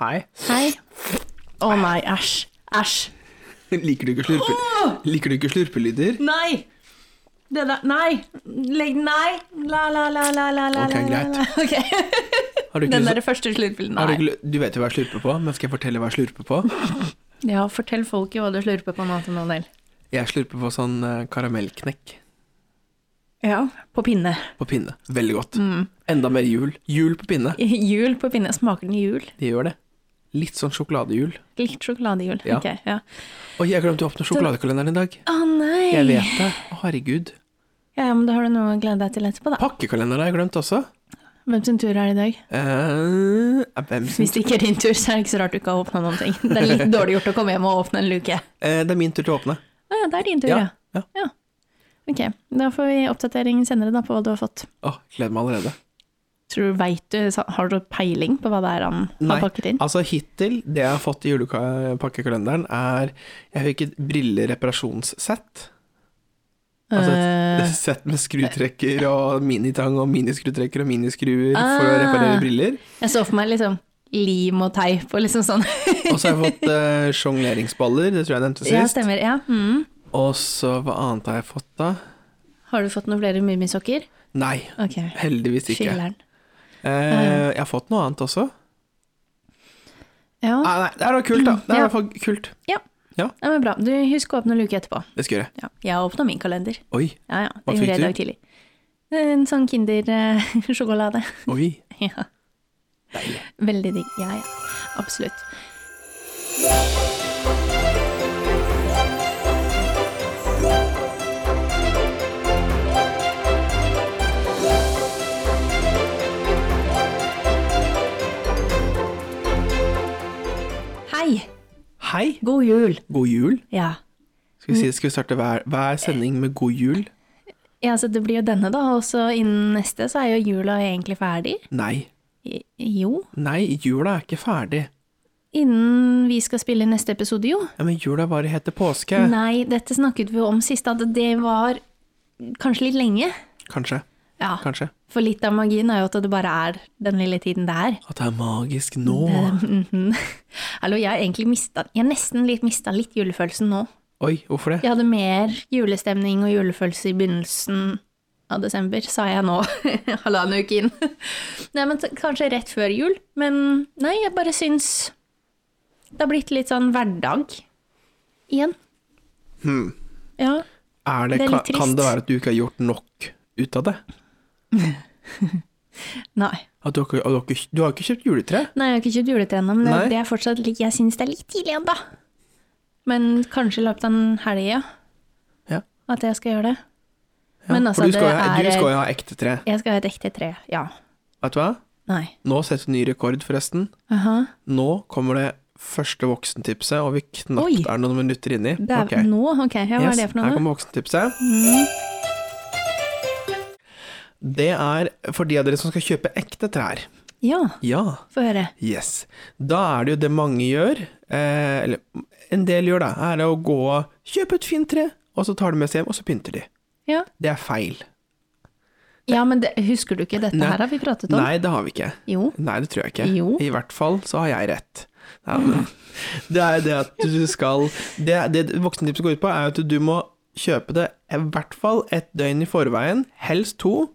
Hei. Hei. Å nei, æsj. Æsj. Liker du ikke, slurpe... Liker du ikke slurpelyder? Nei! Det der Nei! Legg Nei! La, la, la, la, la, la. Ok, la, la, la. Ok. Har du ikke Den lyst- derre første slurpen. har du, Nei. ikke... lu- du vet jo hva jeg slurper på, men skal jeg fortelle hva jeg slurper på? Ja, fortell folket hva du slurper på nå, Tanadel. Jeg slurper på sånn eh, karamellknekk Ja. På pinne. på pinne. Veldig godt. Mm. Enda mer jul. Jul på pinne. Jul på pinne. Smaker den jul? De gjør det. Litt sånn sjokoladejul. Litt sjokoladejul. Ja. Ok, ja. Oi, jeg glemte å åpne sjokoladekalenderen i dag. Å nei! Jeg vet det. Å, herregud. Ja, ja, men da har du noe å glede deg til etterpå, da. Pakkekalenderen har jeg glemt også. Hvem sin tur er det i dag? Eh, hvem sin Hvis det ikke er din tur, så er det ikke så rart du ikke har åpna noen ting. Det er litt dårlig gjort å komme hjem og åpne en luke. Eh, Det er min tur til å åpne. Å ja, det er din tur, ja. ja. Ok, da får vi oppdatering senere da på hva du har fått. Å, gleder meg allerede. Tror du vet du, sa- Har du peiling på hva det er han Nei. har pakket inn? Altså hittil, det jeg har fått i julepakkekalenderen er Jeg fikk et brillereparasjonssett. Altså et Eh, sett med skrutrekker og minitang og miniskrutrekker og miniskruer for å reparere Ah. briller. jeg så for meg liksom lim og teip og liksom sånn. Og så har jeg fått eh, sjongleringsballer, det tror jeg jeg nevnte ja, sist. stemmer. Ja. Mm. og så hva annet har jeg fått da? Har du fått noen flere mummisokker? Nei, Ok, heldigvis ikke. skiller'n. Ah, Eh, jeg har fått noe annet også. Ah, Ja, Nei, nei, det er da kult, da. Det er i Ah. Ja. hvert fall kult. det var bra. Du Husk å åpne luke etterpå. Det skal jeg gjøre. Ja. Jeg har åpna min kalender. Oi, Ja, ja. Hva Det gjorde jeg i fikk dag tidlig. En sånn Kinder-sjokolade. oi. ja. Deilig. Veldig digg. Ja, ja. Absolutt. Hei! Hei, God jul! god jul. Ja. Skal vi, si, skal vi starte hver, hver sending med god jul? ja, så det blir jo denne, da. Og så innen neste så er jo jula egentlig ferdig. Nei. I- Jo. Nei, jula er ikke ferdig. Innen vi skal spille neste episode, jo. Ja, men jula bare heter påske. Nei, dette snakket vi om sist, at det var kanskje litt lenge. Kanskje. Ja, Kanskje. For litt av magien er jo at det bare er den lille tiden det er. At det er magisk nå. Mhm. Hallo, jeg har egentlig mistet, jeg har nesten litt mista litt julefølelsen nå. Oi, hvorfor det? Jeg hadde mer julestemning og julefølelse i begynnelsen av desember, sa jeg nå, halvannen uke inn. Nei, men t- kanskje rett før jul. Men nei, jeg bare syns det har blitt litt sånn hverdag igjen. Hmm. Ja. Er det, det er kan, litt trist. kan det være at du ikke har gjort nok ut av det? Nei. At du, har ikke- og du, har ikke, du har ikke kjøpt juletre? Nei, jeg har ikke kjøpt juletre ennå, men det, Nei. det er fortsatt litt Jeg syns det er litt tidlig ennå. Men kanskje i løpet av en helg, ja. Ja. At jeg skal gjøre det. Ja, Men altså, for du skal, det jo ha- er- du skal jo ha ekte tre. Jeg skal ha et ekte tre, ja. Vet du hva? Nei. Nå setter du ny rekord, forresten. Aha. Nå kommer det første voksentipset, og vi knapt Oi. er noen minutter inni. Det er Ok. nå? Ok, ja, hva Yes, er det for noe? Mhm. Her da? kommer voksentipset. Det er for de av dere som skal kjøpe ekte trær. Ja, Ja. få høre. Yes. Da er det jo det mange gjør, eh, eller en del gjør da, er å gå og kjøpe et fint tre, og så tar de med seg hjem, og så pynter de. Ja, Det er feil. ja men det, husker du ikke? Dette Nei. her har vi pratet om. Nei, det har vi ikke. Jo. Nei, det tror jeg ikke. Jo. I hvert fall så har jeg rett. Ja, men, det er det at du skal Det, det voksentipset går ut på, er at du må kjøpe det i hvert fall et døgn i forveien, helst to,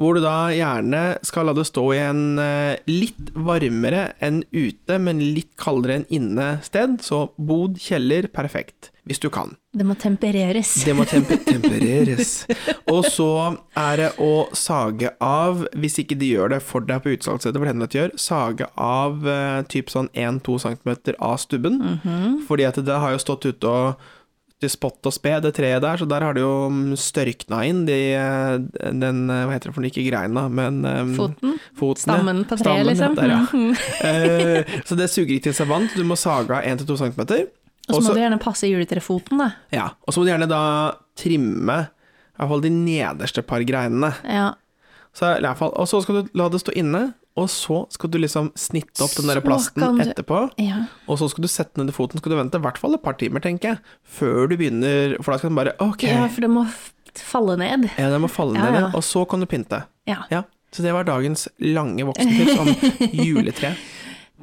hvor du da gjerne skal la det stå i en eh, litt varmere enn ute, men litt kaldere enn inne sted. Så bod, kjeller, perfekt. Hvis du kan. Det må tempereres. Det må tempe tempereres. Og så er det å sage av, hvis ikke de gjør det for deg på utsalgsstedet, for det hender at de gjør, sage av eh, typ sånn 1-2 cm av stubben. Mhm. Fordi at det har jo stått ute og til spott og spe, det treet der, så der har det jo mm, størkna inn de, eh, den eh, Hva heter det for noe, ikke greina, men eh, Foten? fotene. Stammen på Stammen, treet, liksom? ja, Der, ja. Mhm. Eh, så det suger ikke til seg vann, så du må sage av 1-2 cm. Og så må du gjerne passe juletrefoten, da. Ja, og så må du gjerne da trimme i hvert fall de nederste par greinene. Ja. Så, i hvert fall, og så skal du la det stå inne, og så skal du liksom snitte opp den der Så kan plasten du- etterpå. ja. Og så skal du sette ned foten, skal du vente i hvert fall et par timer, tenker jeg, før du begynner, for da skal den bare Ok, ja, for det må f- falle ned. ja, den må falle Ja, ned, ja. og så kan du pynte. Ja. Ja. Så det var dagens lange voksentips om juletre.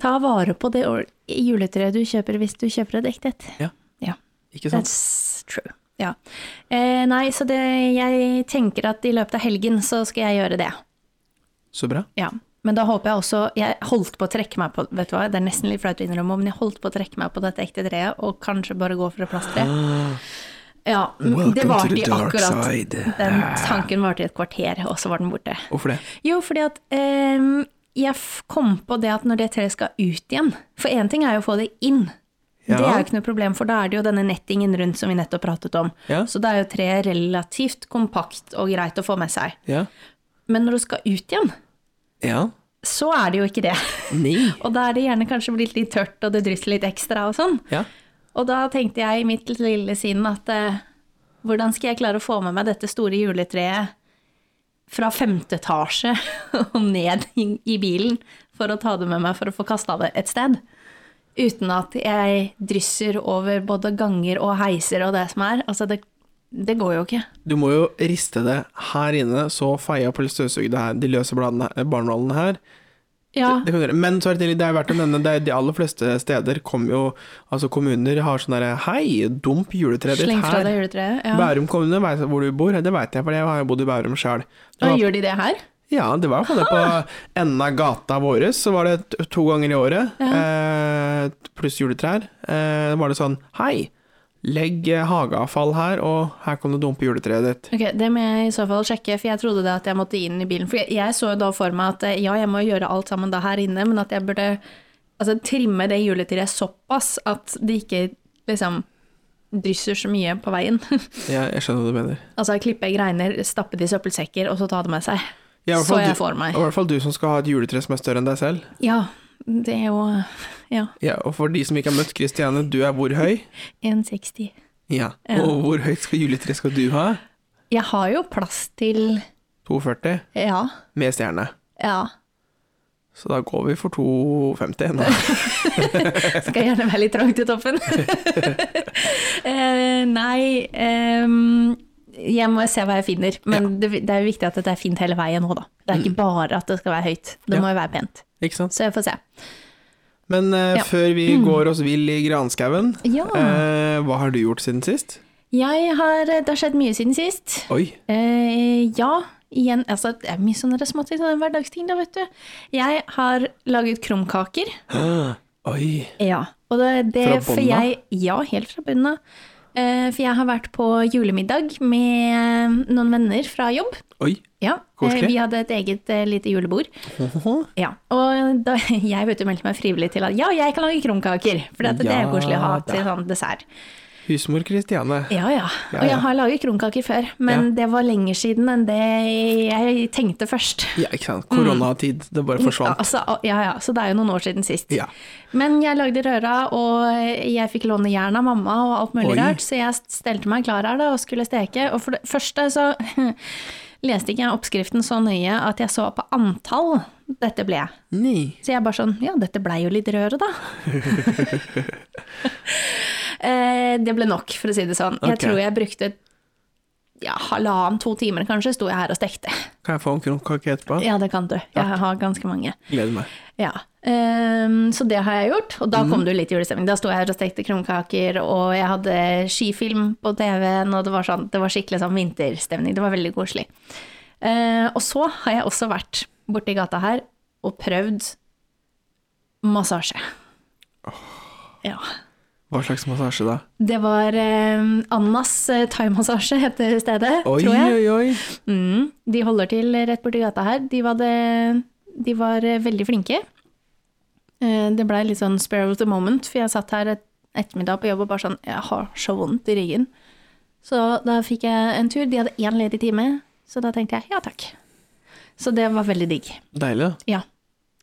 Ta vare på det or- juletreet du kjøper hvis du kjøper et ekte et. Ikke sant? That's true. Ja. Eh, nei, så det, jeg tenker at i løpet av helgen så skal jeg gjøre det. Så bra. Ja. Men da håper jeg også Jeg holdt på å trekke meg på Vet du hva, det er nesten litt flaut å innrømme, men jeg holdt på å trekke meg på dette ekte treet og kanskje bare gå for et plasttre. Ja, m- Mm, det Ah. Welcome to varte the i dark akkurat side. Ah. Den tanken varte i et kvarter, og så var den borte. Hvorfor det? Jo, fordi at eh, jeg f- kom på det at når det treet skal ut igjen For én ting er jo å få det inn. Ja. Det er jo ikke noe problem, for da er det jo denne nettingen rundt som vi nettopp pratet om. Ja. Så da er jo treet relativt kompakt og greit å få med seg. Ja. Men når det skal ut igjen, ja. så er det jo ikke det. Nei. Og da er det gjerne kanskje blitt litt tørt, og det drysser litt ekstra og sånn. Ja. Og da tenkte jeg i mitt lille sinn at eh, hvordan skal jeg klare å få med meg dette store juletreet fra femte etasje og ned i, i bilen for å ta det med meg for å få kasta det et sted? Uten at jeg drysser over både ganger og heiser og det som er. Altså, det, det går jo ikke. Du må jo riste det her inne, så feie opp eller støvsuge det her, de løse bladene, eh, barnålene her. Ja, Det kan du gjøre. Men så er det, det er verdt å nevne, det er de aller fleste steder kommer jo Altså, kommuner har sånn derre Hei, dump juletreet ditt sleng fra her. deg juletreet. Ja. Bærum kommune, vet jeg hvor du bor? Det veit jeg, for jeg har jo bodd i Bærum sjøl. Og gjør de det her? Ja, det var jo det på enden av gata vår, så var det t- to ganger i året, eh, pluss juletrær. Eh, var det sånn Hei, legg eh, hageavfall her, og her kan du dumpe juletreet ditt. Ok, Det må jeg i så fall sjekke, for jeg trodde det at jeg måtte inn i bilen. For jeg, jeg så jo da for meg at eh, ja, jeg må gjøre alt sammen da her inne, men at jeg burde altså, trimme det juletreet såpass at det ikke liksom drysser så mye på veien. Jeg, jeg skjønner hva du mener. altså klippe greiner, stappe det i søppelsekker, og så ta det med seg. Ja, i hvert fall så jeg du- får meg. Og i hvert fall du som skal ha et juletre som er større enn deg selv. Ja, det er jo ja, Ja, og for de som ikke har møtt Kristiane, du er hvor høy? 1,60. Ja. Og hvor høyt skal juletre skal du ha? Jeg har jo plass til 2,40 ja, med stjerne. ja. Så da går vi for 2,50 nå. Skal gjerne være litt trangt i toppen. eh, nei ehm, Jeg må se hva jeg finner. Men det, det er jo viktig at det er fint hele veien nå, da. Det er ikke bare at det skal være høyt. Det Ja. må jo være pent. Ikke sant? Så jeg får se. Men eh, Ja. Mm. Ah. før vi går oss vill i granskauen, Ja. eh, hva har du gjort siden sist? Jeg har, det har skjedd mye siden sist. Oi. Eh, ja, igjen altså, Det er mye sånne småting, sånne hverdagsting, da, vet du. Jeg har laget krumkaker. Oi. Ja. Og det, det, Fra for bunnen av? jeg, ja, helt fra bunnen av. Eh, for jeg har vært på julemiddag med noen venner fra jobb. Oi. Ja, Koselig. eh, Vi hadde et eget eh, lite julebord. Ja, Og da, jeg vet du meldte meg frivillig til at ja, jeg kan lage krumkaker. For det, det er Ja jo koselig å ha da. til sånn dessert. Husmor Kristiane. Ja, Ja, ja. Og ja. jeg har laget krumkaker før, men det var lenger siden enn det jeg tenkte først. Ja, ikke sant. Koronatid. Det bare forsvant. Altså, Mm. ja, ja, så det er jo noen år siden sist. Ja. Men jeg lagde røra, og jeg fikk låne jern av mamma og alt Oi. mulig rart, så jeg stelte meg klar her da og skulle steke. Og for det første så leste ikke jeg oppskriften så nøye at jeg så på antall dette ble. Nei. Så jeg bare sånn, ja, dette blei jo litt røre da. Eh, det ble nok, for å si det sånn. Jeg Ok. tror jeg brukte ja, halvannen, to timer kanskje, sto jeg her og stekte. Kan jeg få en krumkake etterpå? Ja, det kan du. Jeg har ganske mange. Gleder meg. Ja, ehm, så det har jeg gjort, og da kom det jo litt julestemning. Da sto jeg her og stekte krumkaker, og jeg hadde skifilm på TV-en, og det var, sånn, det var skikkelig sånn vinterstemning. Det var veldig koselig. Eh, og så har jeg også vært borti gata her og prøvd massasje. Ja. Hva slags massasje da? Det var eh, Annas eh, thaimassasje heter stedet, Oi, tror jeg. oi, oi. Mm, de holder til rett borti gata her. De var, det, de var eh, veldig flinke. Eh, Det blei litt sånn spare of the moment, for jeg satt her et ettermiddag på jobb og bare sånn Jeg har så vondt i ryggen. Så da fikk jeg en tur. De hadde én ledig time, så da tenkte jeg ja takk. Så det var veldig digg. Deilig, da. Ja.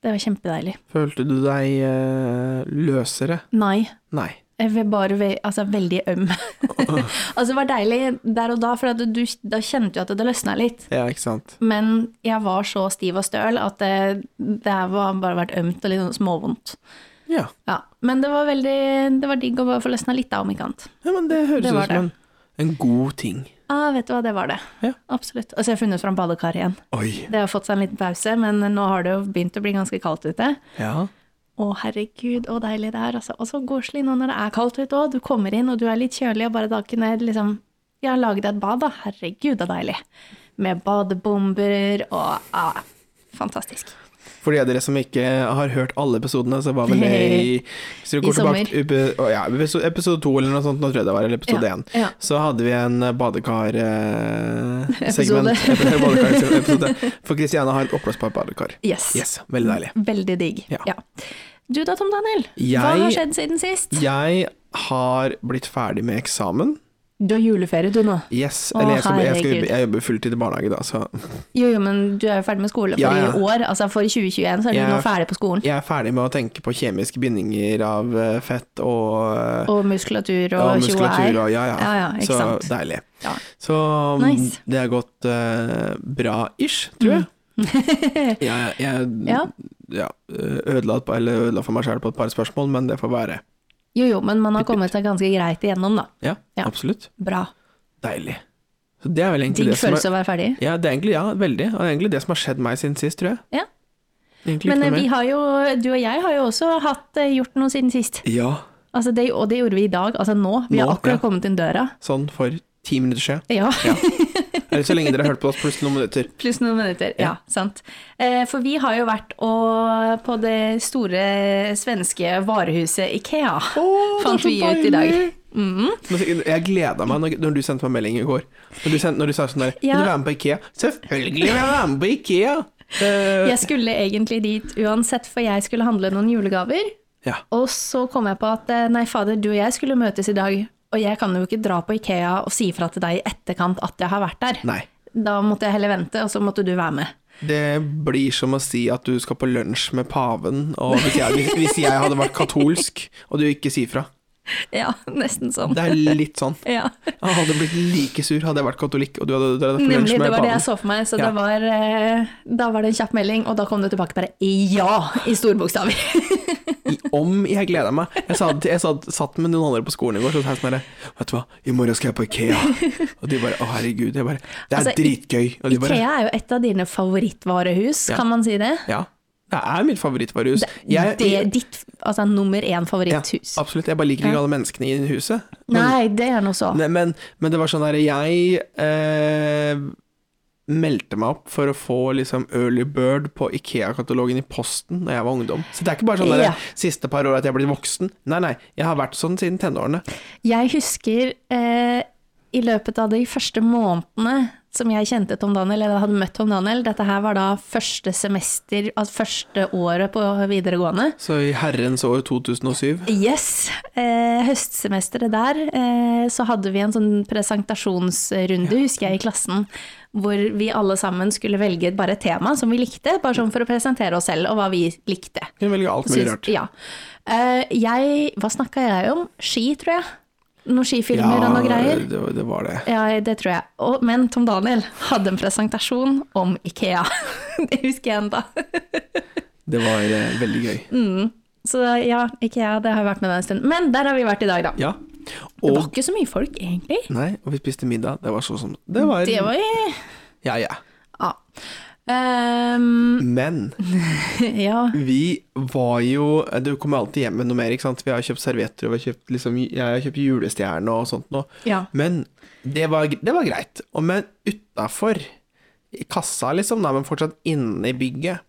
Det var kjempedeilig. Følte du deg eh, løsere? Nei. Nei. Jeg ble bare ve altså, veldig øm. altså, det var deilig der og da, for at du, da kjente du at det løsna litt. Ja, ikke sant. Men jeg var så stiv og støl at det, det her var bare vært ømt og litt sånn småvondt. Ja. Ja, men det var veldig det var digg å bare få løsna litt, da, om ikke annet. ja men det høres ut Det var som en, en god ting. Ah, vet du hva, det var det. Ja. Absolutt. Og så har jeg funnet fram badekaret igjen. Oi. Det har fått seg en liten pause, men nå har det jo begynt å bli ganske kaldt ute. Ja. Å, herregud, å deilig det er, altså. Og så koselig nå når det er kaldt ute òg. Du kommer inn, og du er litt kjølig, og bare da kunne jeg liksom Ja, lage deg et bad, da. Herregud, det er deilig. Med badebomber og ah, Fantastisk. For de av dere som ikke har hørt alle episodene, så var vel det i Hvis dere I går tilbake til epi- å, ja, episode, episode to eller noe sånt, nå tror jeg det var, eller episode Ja, én, ja. så hadde vi en badekar-segment. Eh, Episode. segment- badekar-episode. For Christiane har et oppblåsbart badekar. Yes. Yes, veldig deilig. Veldig digg. Ja. Du da, Tom Daniel? Hva Jeg- har skjedd siden sist? Jeg har blitt ferdig med eksamen. Du har juleferie, du nå. Yes, Å, eller jeg, skal, jeg, skal herregud. jobbe, jeg jobber fulltid i barnehage da, så Jo, jo, men du er jo ferdig med skole for Ja, ja. i år. Altså for 2021 så er du Jeg er nå ferdig på skolen. jeg er ferdig med å tenke på kjemiske bindinger av eh, fett og, eh, Og muskulatur og og tjoe muskulatur her. og ja, ja. Ja, ja, ikke så sant. deilig. Ja. Så mm, Nice. det har gått eh, bra-ish, tror jeg. Mm. jeg, jeg Ja. ja, eh, ødela, et par- eller ødela for meg sjøl på et par spørsmål, men det får være. Jo, jo, men man har kommet seg ganske greit igjennom, da. Ja, Ja. absolutt. Bra. Deilig. Så det er vel egentlig det Digg som følelse er, å være ferdig. ja, det er egentlig, ja, veldig. Og det er egentlig det som har skjedd meg siden sist, tror jeg. Ja. Egentlig Men ikke eh, noe vi mer. har jo, du og jeg har jo også hatt, eh, gjort noe siden sist. Ja, Altså det, og det gjorde vi i dag, altså nå. Vi Nå, har akkurat ja. kommet inn døra. sånn for ti minutter siden. Ja, Eller så lenge dere har hørt på oss, pluss noen minutter. pluss noen minutter. Ja, sant. Eh, For vi har jo vært og, på det store svenske varehuset Ikea. Fant vi ut i dag. Mm. Men så- Jeg gleda meg når, når du sendte meg melding i går. Når du, sendte, når du sa sånn der Ja. Vil du være med på Ikea? Selvfølgelig vil jeg være med på Ikea! Eh, Jeg skulle egentlig dit uansett, for jeg skulle handle noen julegaver. ja. Og så kom jeg på at eh, nei, fader, du og jeg skulle møtes i dag. Og jeg kan jo ikke dra på Ikea og si fra til deg i etterkant at jeg har vært der. Nei. Da måtte jeg heller vente, og så måtte du være med. Det blir som å si at du skal på lunsj med paven, og hvis jeg, hvis, hvis jeg hadde vært katolsk, og du ikke sier fra. Ja, nesten sånn. Det er litt sånn. Ja. Jeg hadde blitt like sur hadde jeg vært katolikk, og du hadde dratt på Nemlig, lunsj det med var det paven. jeg så for meg, så Ja. det var, eh, da var det en kjapp melding, og da kom det tilbake bare ja, i store bokstaver. I, om jeg gleda meg. Jeg, sa, det til- jeg sa, satt med noen andre på skolen i går, så sa jeg sånn herre Vet du hva, i morgen skal jeg på Ikea. Og de bare Å, herregud. Jeg bare Det er Altså, I- dritgøy. Og de bare Ikea er jo et av dine favorittvarehus, Ja. kan man si det? Ja. Det er mitt favorittvarehus. Jeg- det er ditt altså, nummer én ja, favoritthus. absolutt. Jeg bare liker ikke alle menneskene i huset. Nei, det er noe så. Nei, men, men det var sånn her Jeg eh, meldte meg opp for å få liksom Early Bird på Ikea-katalogen i posten da jeg var ungdom. Så det er ikke bare sånn der, Ja. siste par år at jeg blir voksen. Nei, nei. Jeg har vært sånn siden tenårene. Jeg husker eh, i løpet av de første månedene som jeg kjente Tom Daniel, eller hadde møtt Tom Daniel, dette her var da første semester, altså første året på videregående. Så i herrens år 2007 Yes! Eh, høstsemesteret der, eh, så hadde vi en sånn presentasjonsrunde, husker jeg, i klassen, hvor vi alle sammen skulle velge bare et tema som vi likte, bare sånn for å presentere oss selv og hva vi likte. kunne velge alt mulig Syns- rart. Ja. Eh, jeg Hva snakka jeg om? Ski, tror jeg. Noen skifilmer og noe greier. det, var- det var det. Ja, det tror jeg. Og, men Tom Daniel hadde en presentasjon om Ikea. Det husker jeg ennå. Det var eh, veldig gøy. Mm. Så ja, Ikea, det har jeg vært med deg en stund. Men der har vi vært i dag, da. Ja. Det Og, var ikke så mye folk, egentlig. nei, og vi spiste middag. Det var så som Det var Det var jo Ja, ja. Ja. Ehm, Men ja. Vi var jo Du kommer alltid hjem med noe mer, ikke sant. Vi har kjøpt servietter, og vi har kjøpt, liksom, jeg har kjøpt julestjerne og sånt noe. Ja. Men det var, det var greit. Og men utafor kassa, liksom, da, men fortsatt inne i bygget,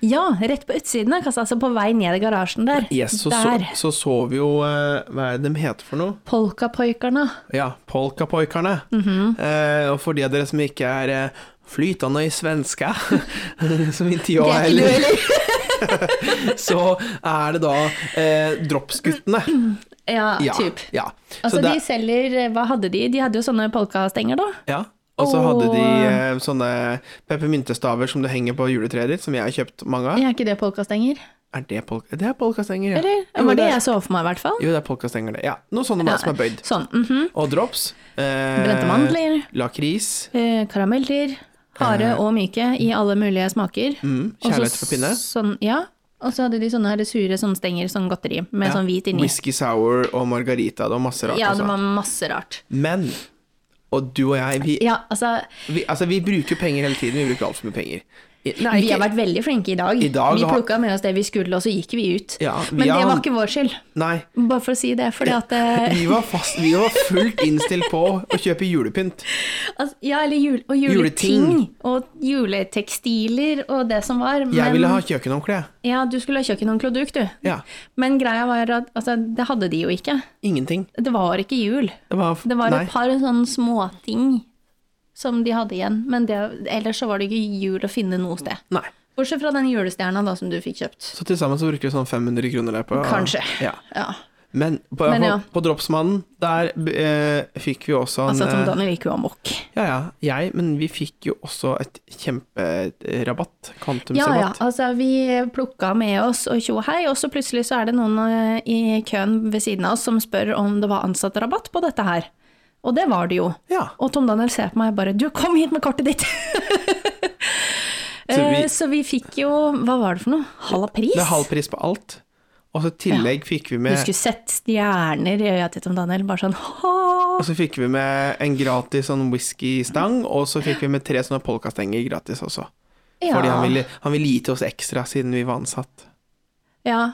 ja, rett på utsiden av kassa, altså på vei ned i garasjen der. yes, så, så, der. så så vi jo eh, Hva er det de heter for noe? Polkapoikarna. Ja, Polkapoikerne. Mhm. eh, og for de av dere som ikke er eh, flytende i svenska, som ikke jeg Det er ikke du heller, heller. så er det da eh, Dropsguttene. Ja, Ja. Mm, typ. ja. Altså, det- de selger Hva hadde de? De hadde jo sånne polkastenger, da. Ja, og så hadde de Åh. eh, sånne peppermyntestaver som du henger på juletreet ditt, som jeg har kjøpt mange av. Er ikke det polkastenger? Er det, polk det er polkastenger, ja. Eller? Jo, var det er- jeg så for meg, i hvert fall. Jo, det er polkastenger, det. Ja, noe sånt ja. som er bøyd. Sånn. mhm. Og drops. Eh, Brente mandler, Lakris. eh, karameller, harde og myke i alle mulige smaker. Eh. Mm, Og så kjærlighet for pinne. Sånn, ja. Og så hadde de sånne her sure sånn stenger, sånn godteri, med Ja. sånn hvit inni. Whisky sour og margarita, det var masse rart. Ja, altså. det var masse rart. Men, og du og jeg, vi, Ja, altså vi, altså, vi bruker jo penger hele tiden, vi bruker altfor mye penger. Nei, Vi har ikke- vært veldig flinke i dag. I dag vi har- plukka med oss det vi skulle, og så gikk vi ut. Ja, vi Men det har- var ikke vår skyld, Nei. bare for å si det. Fordi at eh, Vi var, fast, vi var fullt innstilt på å kjøpe julepynt. altså, Ja, eller jul, og Juleting. juleting. Og juletekstiler og det som var. Men Jeg ville ha kjøkkenhåndkle. jeg. ja, du skulle ha kjøkkenhåndkle og duk, du. Ja. Men greia var at altså, det hadde de jo ikke. Ingenting. Det var ikke jul. Det var, Det var nei. et par sånne småting som de hadde igjen, men det, ellers så var det ikke jul å finne noe sted. nei. Bortsett fra den julestjerna da som du fikk kjøpt. Så til sammen så bruker vi sånn 500 kroner der på Kanskje. Ja. Ja. Men på, Men ja. på, på Dropsmannen, der eh, fikk vi også en Altså Tom eh, Daniel gikk jo amok. Ja ja, jeg, men vi fikk jo også et kjemperabatt. Ja ja, Kvantumsrabatt. altså vi plukka med oss og tjo og hei, og så plutselig så er det noen eh, i køen ved siden av oss som spør om det var ansattrabatt på dette her. Og det var det jo. Ja. Og Tom Daniel ser på meg bare 'du, kom hit med kortet ditt'. Så vi- Eh, så vi fikk jo, hva var det for noe, halv pris? Det er halv pris på alt. Og så i tillegg fikk vi Du med skulle sett stjerner i øya til Tom Daniel, bare sånn «Åh!» og så fikk vi med en gratis sånn whiskystang, og så fikk vi med tre sånne polkastenger gratis også. ja. Fordi han ville, han ville gi til oss ekstra siden vi var ansatt. ja,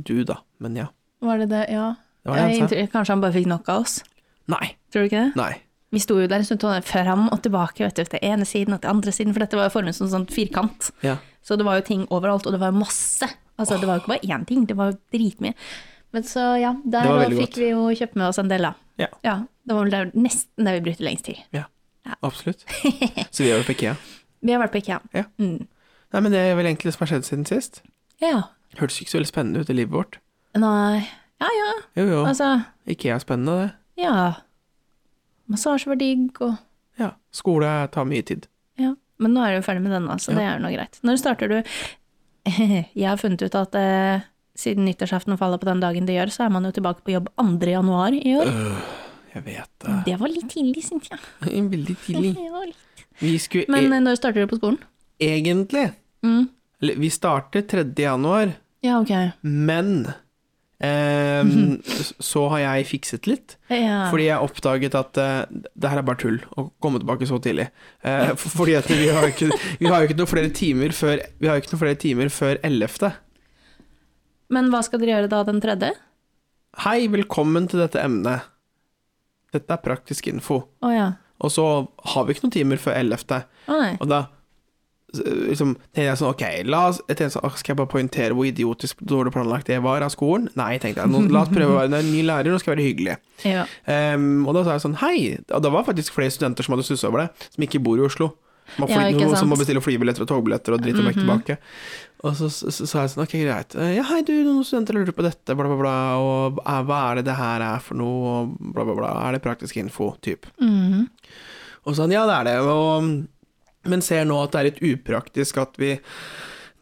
Du da, men ja. var det det? Ja. Det var det han Jeg sa. inntrykk- Kanskje han bare fikk nok av oss, Nei. tror du ikke det? Nei. Vi sto jo der en stund Tom Daniel, fram og tilbake, vet du, til ene siden og til andre siden, for dette var jo formet som en sånn firkant. Ja. Så det var jo ting overalt, og det var jo masse. Altså, det var jo ikke bare én ting, det var jo dritmye. Men så ja, der Det var da veldig fikk godt. vi jo kjøpt med oss en del, da. Ja. Ja, det var vel der, nesten der vi brukte lengst tid. ja. Absolutt. Så vi er jo på IKEA. Vi har vært på IKEA. Ja. Mm. Nei, men det er vel egentlig det som har skjedd siden sist. ja. Hørtes ikke så veldig spennende ut i livet vårt. Nei Ja ja, Jo, jo. altså IKEA er spennende, det. Ja. Massasje var digg, og Ja. Skole tar mye tid. ja. Men nå er du ferdig med denne, så det er jo nå greit. Når starter du Jeg har funnet ut at eh, siden nyttårsaften faller på den dagen det gjør, så er man jo tilbake på jobb 2. januar i år. Jeg vet det. Det var litt tidlig, syns jeg. Veldig tidlig. Det var litt- Vi skulle Men e eh, når starter du på skolen? egentlig Mm. eller, Vi starter 3. januar, Ja, ok. men ehm, s- så har jeg fikset litt. Ja. Fordi jeg oppdaget at eh, det her er bare tull å komme tilbake så tidlig. Eh, for- fordi at vi har jo ikke, vi har jo ikke noen flere timer før Vi har jo ikke noen flere timer før 11. Men hva skal dere gjøre da den tredje? Hei, velkommen til dette emnet. Dette er praktisk info. Å ja. Og så har vi ikke noen timer før 11. Å nei. Og da s- liksom, tenkte jeg sånn Ok, la oss jeg tenkte sånn, «Ah, Skal jeg bare poengtere hvor idiotisk dårlig planlagt det var av skolen? Nei, tenkte jeg. Nå, la oss prøve å være en ny lærer, nå skal jeg være hyggelig. Ja. Ehm, og da sa jeg sånn Hei! Og det var faktisk flere studenter som hadde stussa over det, som ikke bor i Oslo. Som må, fly, Ja, ikke noen som sant. Mhm. må bestille flybilletter og togbilletter og dritt og vekk tilbake. Og så så- så sa jeg sånn Ok, greit. Eh, Ja, hei, du, noen studenter lurer på dette, bla, bla, bla. Og eh, hva er det det her er for noe, og bla, bla, bla. Er det praktisk info? Typ. Mhm. Og sånn, ja det er det, og, men ser nå at det er litt upraktisk at vi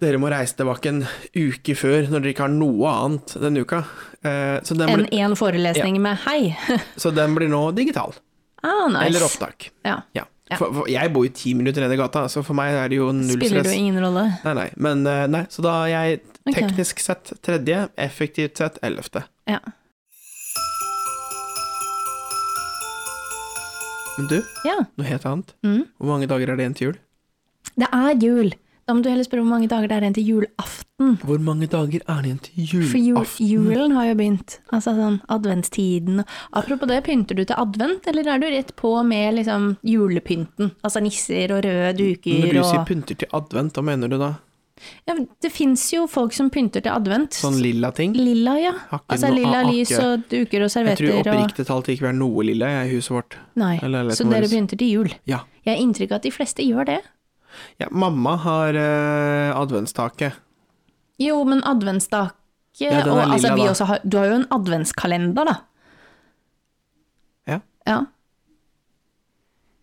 dere må reise tilbake en uke før når dere ikke har noe annet denne uka. Eh, så, den Enn blir, én forelesning med 'hei'. så den blir nå digital, ah, nice. eller opptak. Ja. Ja. Ja. For, for, jeg bor jo ti minutter ned i gata, så for meg er det jo null Spiller stress. jo ingen rolle. Nei, nei, men eh, nei, så da er jeg Ok. teknisk sett tredje, effektivt sett ellevte. Ja. Men du, ja. noe helt annet. Mm. Hvor mange dager er det igjen til jul? Det er jul. Da må du heller spørre hvor mange dager det er igjen til julaften. Hvor mange dager er det igjen til Mm. For jul, julaften? julen har jo begynt. Altså sånn adventstiden. Apropos det, pynter du til advent, eller er du rett på med liksom julepynten? Altså nisser og røde Når duker du sier og pynter til advent, hva mener du da? ja, men Det fins jo folk som pynter til advent. Sånn lilla ting? Lilla, ja. Har ikke Altså noe- lilla har lys ikke- og duker og Jeg tror servietter og oppriktig talt det ikke vi er noe lilla jeg, i huset vårt. Nei. Eller leiligheten Så dere vår. pynter til jul. Ja. Jeg har inntrykk av at de fleste gjør det. ja mamma har eh, adventstaket. Jo, men adventstake Ja, den er og, altså, lilla, vi da. også har, Du har jo en adventskalender, da. Ja. Ja.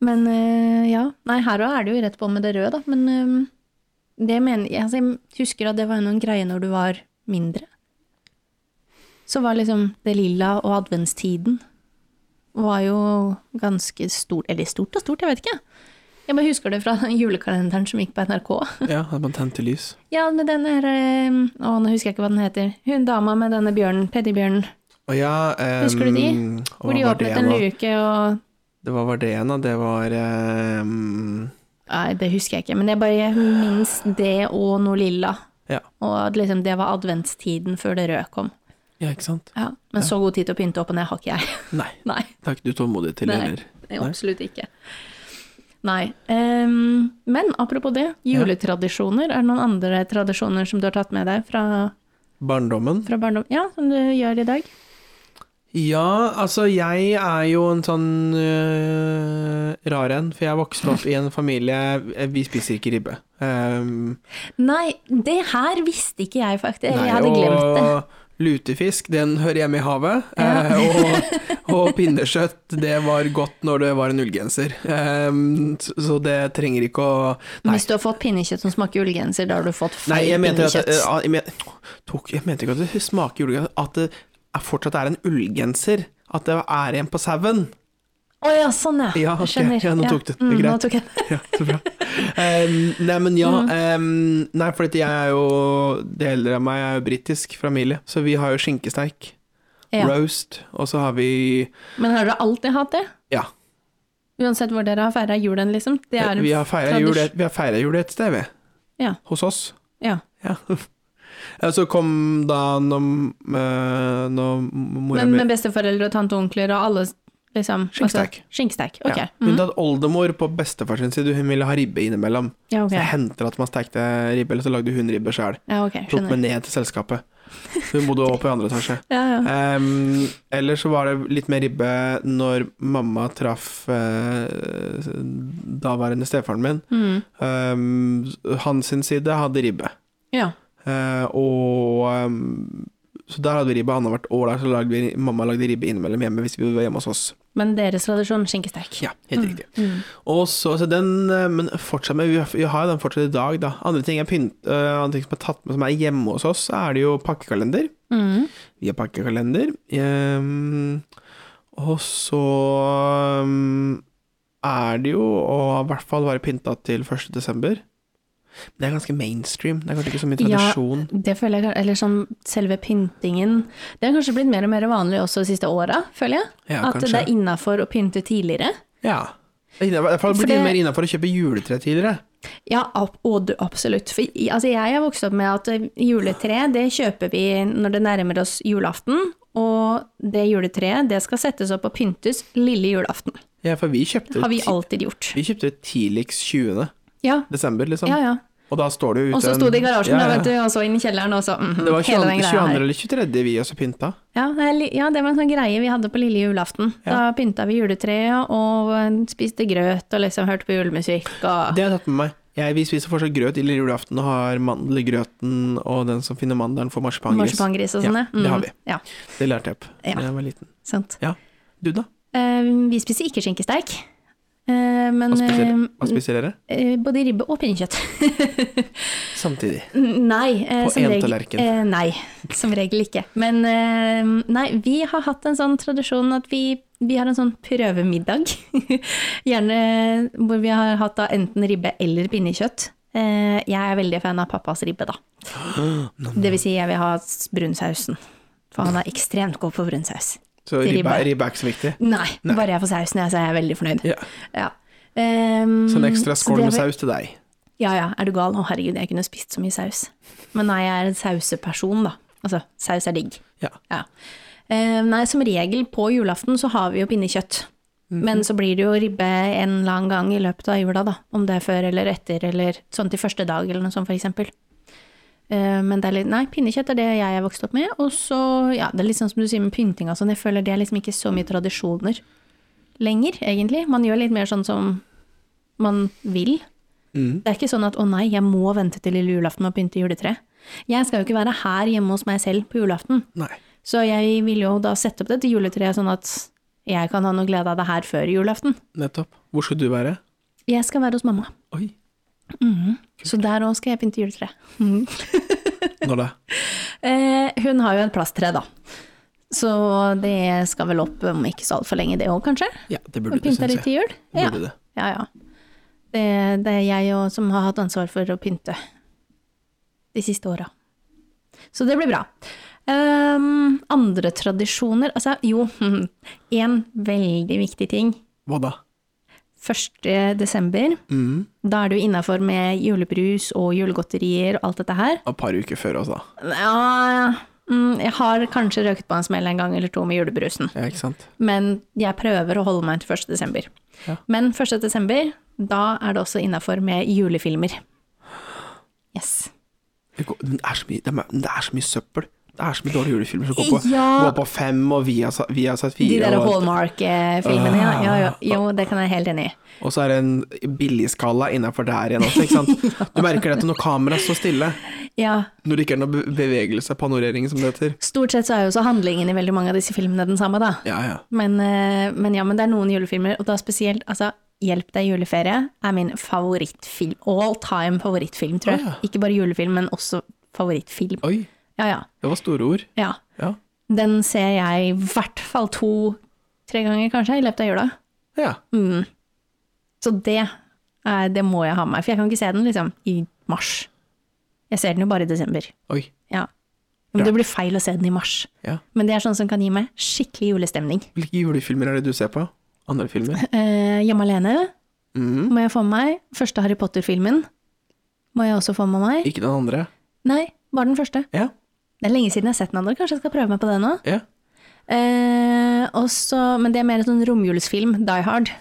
Men eh, ja. Nei, her òg er det jo rett på med det røde, da. Men eh, det mener jeg altså, Jeg husker at det var noen greier når du var mindre. Så var liksom det lilla og adventstiden var jo ganske stort Eller stort og stort, jeg vet ikke. Jeg bare husker det fra den julekalenderen som gikk på NRK. Ja, at man tente lys. Ja, med den her eh, Å, nå husker jeg ikke hva den heter. Hun dama med denne bjørnen, teddybjørnen. Og ja, eh, Husker du de? og Hvor de hva var åpnet det en nå? luke og Det var, var det igjen, da? Det var eh, Nei, det husker jeg ikke, men jeg bare minnes det og noe lilla. Ja. Og at liksom, det var adventstiden før det røde kom. Ja, ikke sant? Ja. Men så god tid til å pynte opp og ned har ikke jeg. Nei. Nei. Det har ikke du tålmodighet til Nei. heller. Nei, Absolutt ikke. Nei. ehm, men apropos det, juletradisjoner. Er det noen andre tradisjoner som du har tatt med deg fra, Barndommen? fra barndom? Ja, som du gjør i dag? Ja, altså jeg er jo en sånn øh, rar en, for jeg vokste opp i en familie eh, Vi spiser ikke ribbe. Um, Nei, det her visste ikke jeg faktisk. nei, jeg hadde glemt det. Og lutefisk, den hører hjemme i havet. Ja. Eh, og, og pinnekjøtt, det var godt når det var en ullgenser. Um, så- så det trenger ikke å Men Nei. Hvis du har fått pinnekjøtt som smaker julegenser, da har du fått Nei, feil jeg mente at pinnekjøtt. eh, ah, jeg, men, tok, jeg mente ikke at det smaker julegenser, at det er, fortsatt er en ullgenser. At det er en på sauen. Å ja, sånn ja. Ja, Jeg ok. skjønner. Ja, nå tok du det. Mm, Greit. nå Mm. tok jeg det. Ja, så bra. Em, nei, men ja. em, nei, for at jeg er jo Deler av meg er jo britisk familie, så vi har jo skinkesteik, Ja. roast, og så har vi Men har dere alltid hatt det? Ja. Eh, Uansett hvor dere har feira julen, liksom? Det er en Vi har feira tradis- jul, vi har feiret jul et sted, vi. Ja. Hos oss. Ja. Ja. Ja, Så kom da når, eh, når mora Men mi med besteforeldre og tante og onkler og alle, liksom? Skinksteik. Altså, skinksteik, ok. ja. Mm. Unntatt oldemor på bestefar sin side, hun ville ha ribbe innimellom. Ja, ok. Så jeg henter at man stekte ribbe, eller så lagde hun ribbe sjøl. Ja, ok, Tok skjønner. med ned til selskapet. Hun bodde oppe i andre etasje. Ja, ja. Um, ellers så var det litt mer ribbe når mamma traff eh, daværende stefaren min. Mm. Um, hans sin side hadde ribbe. ja. Eh, og um, Så der hadde vi ribbe annethvert år. Der så lagde vi, mamma lagde ribbe innimellom hjemme hvis vi var hjemme hos oss. Mm. Men deres tradisjon, skinkesteik. Mm. Ja, helt riktig. Og så, så den, eh, men fortsatt med, vi har- vi har jo den fortsatt i dag, da. Andre ting, er pynt, eh, andre ting som er tatt med som er hjemme hos oss, er det jo pakkekalender. Mm. via pakkekalender. Ehm, og så ehm, er det jo å i hvert fall være pynta til 1. desember. Men det er ganske mainstream. Det er kanskje ikke så mye Ja. tradisjon. Det føler jeg, eller sånn selve pyntingen Det har kanskje blitt mer og mer vanlig også de siste åra, føler jeg. Ja, At kanskje. det er innafor å pynte tidligere. Ja. Det er inne- I hvert fall For blitt det- mer innafor å kjøpe juletre tidligere. Ja, ab- og du- absolutt. For i- altså, jeg er vokst opp med at eh, juletre, det kjøper vi når det nærmer oss julaften. Og det juletreet, det skal settes opp og pyntes lille julaften. Ja, for vi kjøpte, Har vi ti- alltid gjort. vi kjøpte det tidligst 20. Ja, desember, liksom. ja, ja. Og da står det jo ute Og så en- sto det i Ja, garasjen, da, ja. vet du, og så inn i kjelleren, og så mhm, Det var hele 22. den greia 22. her. eller 23. vi også pynta. Ja, det er li- ja, det var en sånn greie vi hadde på lille julaften. Da pynta vi juletreet og eh, spiste grøt og liksom hørte på julemusikk og Det har jeg tatt med meg. Jeg, vi spiser fortsatt grøt i lille julaften og har mandelgrøten, og den som finner mandelen, får marsipangris. marsipangris og sånne. Mhm, Ja, det har vi. Ja, Det lærte jeg på Ja. da jeg var liten. sant. Ja. Du, da? Eh, vi spiser ikke skinkesteik, eh, men Hva spiser, eh, hva spiser dere? eh, både ribbe og pinnekjøtt. Samtidig. nei. eh, På som én regel- tallerken. eh, nei, som regel ikke. Men eh, nei, vi har hatt en sånn tradisjon at vi, vi har en sånn prøvemiddag. Gjerne hvor vi har hatt da enten ribbe eller pinnekjøtt. Eh, jeg er veldig fan av pappas ribbe, da. Det vil si, jeg vil ha s- brunsausen. For han er ekstremt god på brunsaus. Så Til ribbe, ribbe. ribbe er ikke så viktig. Nei, bare jeg får sausen, jeg, så er jeg veldig fornøyd. Ja. Ja. Ehm, Så en Sånn ekstra så skål det med var- saus til deg. Ja, ja, er du gal? Å herregud, jeg kunne spist så mye saus. Men nei, jeg er en sauseperson, da. Altså, saus er digg. Ja. Ja. Eh, nei, som regel på julaften så har vi jo pinnekjøtt. Men så blir det jo ribbe en eller annen gang i løpet av jula, da. Om det er før eller etter, eller sånn til første dag, eller noe sånt, for eksempel. Eh, men det er litt Nei, pinnekjøtt er det jeg er vokst opp med. Og så, ja, det er litt sånn som du sier med pynting og sånn. Jeg føler det er liksom ikke så mye tradisjoner lenger, egentlig. Man gjør litt mer sånn som man vil. Mm. Det er ikke sånn at å nei, jeg må vente til lille julaften med å pynte juletreet. Jeg skal jo ikke være her hjemme hos meg selv på julaften, Nei. så jeg vil jo da sette opp dette juletreet sånn at jeg kan ha noe glede av det her før julaften. Nettopp. Hvor skal du være? Jeg skal være hos mamma, Oi. så der òg skal jeg pynte juletreet. Når da? Eh, hun har jo et plasttre, da. Så det skal vel opp om ikke så altfor lenge, det òg, kanskje? Ja, det Og burde du, pynte syns litt jeg. til jul? Det Ja, Burde det. ja. ja. Det, det er jeg jo som har hatt ansvar for å pynte de siste åra. Så det blir bra. Ehm, andre tradisjoner Altså, jo, én veldig viktig ting. Hva da? 1. desember. Mm. Da er du innafor med julebrus og julegodterier og alt dette her. Et par uker før også, da. Ja, mm, jeg har kanskje røket på en smell en gang eller to med julebrusen, Ja, ikke sant? men jeg prøver å holde meg til 1. desember. Ja. Men 1. desember, da er det også innafor med julefilmer. Yes. Det går- men det er så mye, det er, det er så mye søppel. Det er så mye dårlige julefilmer som går på, Ja. går på fem, og vi har, sa- vi har satt De fire. der og, Hallmark-filmene, Ah. ja, ja, ja. Jo, det kan jeg være helt enig i. og så er det en billigskala innafor der igjen også, ikke sant. Du merker det at når kameraet står stille, Ja. når det ikke er noe be- bevegelse, panorering som det heter. Stort sett så er jo også handlingen i veldig mange av disse filmene den samme, da. Ja, ja. Men, eh, men ja, men det er noen julefilmer, og da spesielt altså, 'Hjelp deg juleferie' er min favorittfilm. All time favorittfilm, tror jeg. Å, Ah, ja. Ikke bare julefilm, men også favorittfilm. Oi, Ja, ja. det var store ord. ja. Ja. Den ser jeg i hvert fall to-tre ganger, kanskje, i løpet av jula. ja. Mm. Så det, er, det må jeg ha med meg, for jeg kan ikke se den liksom, i mars. Jeg ser den jo bare i desember. Oi. Ja. Men det blir feil å se den i mars. Ja. Men det er sånn som kan gi meg skikkelig julestemning. Hvilke julefilmer er det du ser på? Andre filmer? Eh, hjemme alene Mhm. må jeg få med meg. Første Harry Potter-filmen må jeg også få med meg. Ikke den andre? Nei, bare den første. Ja. Det er lenge siden jeg har sett den andre, kanskje jeg skal prøve meg på det nå. ja. Eh, også- men det er mer en sånn romjulsfilm, Die Hard.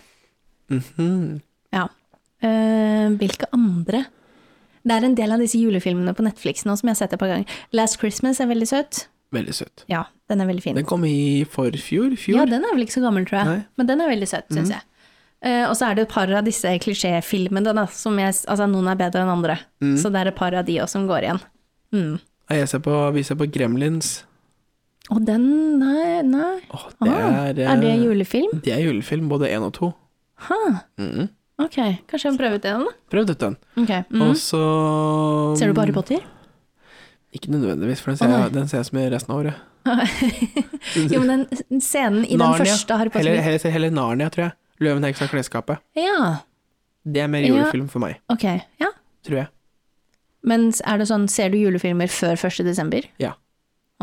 Mhm. Ja. Eh, hvilke andre? Det er en del av disse julefilmene på Netflix nå som jeg har sett et par ganger. Last Christmas er veldig søt. Veldig søtt. Ja, den er veldig fin. Den kom i forfjor? Fjor? Ja, den er vel ikke så gammel, tror jeg. Nei. Mhm. Men den er veldig søt, syns jeg. Eh, og så er det et par av disse klisjéfilmene, da, som jeg Altså, noen er bedre enn andre. Mhm. Så det er et par av de også som går igjen. Mm. Nei, Jeg ser på, vi ser på Gremlins. Og den Nei, nei. Åh, det Ah, er, eh, er det julefilm? Det er julefilm, både én og to. Ha. Mhm. Ok, kanskje jeg må prøve ut den, da. Prøv dette den. Ok, mm. Og så mm, Ser du på Harry Potter? Ikke nødvendigvis, for den Å, ser, nei. jeg, den ser jeg som i resten av året. Jo, men den scenen i den første Harry Heller, Potter heller, ser heller Narnia, tror jeg. Løven heks og klesskapet. Ja, Det er mer Ja. julefilm for meg, ok. Ja. tror jeg. Men er det sånn, ser du julefilmer før 1. desember? Ja.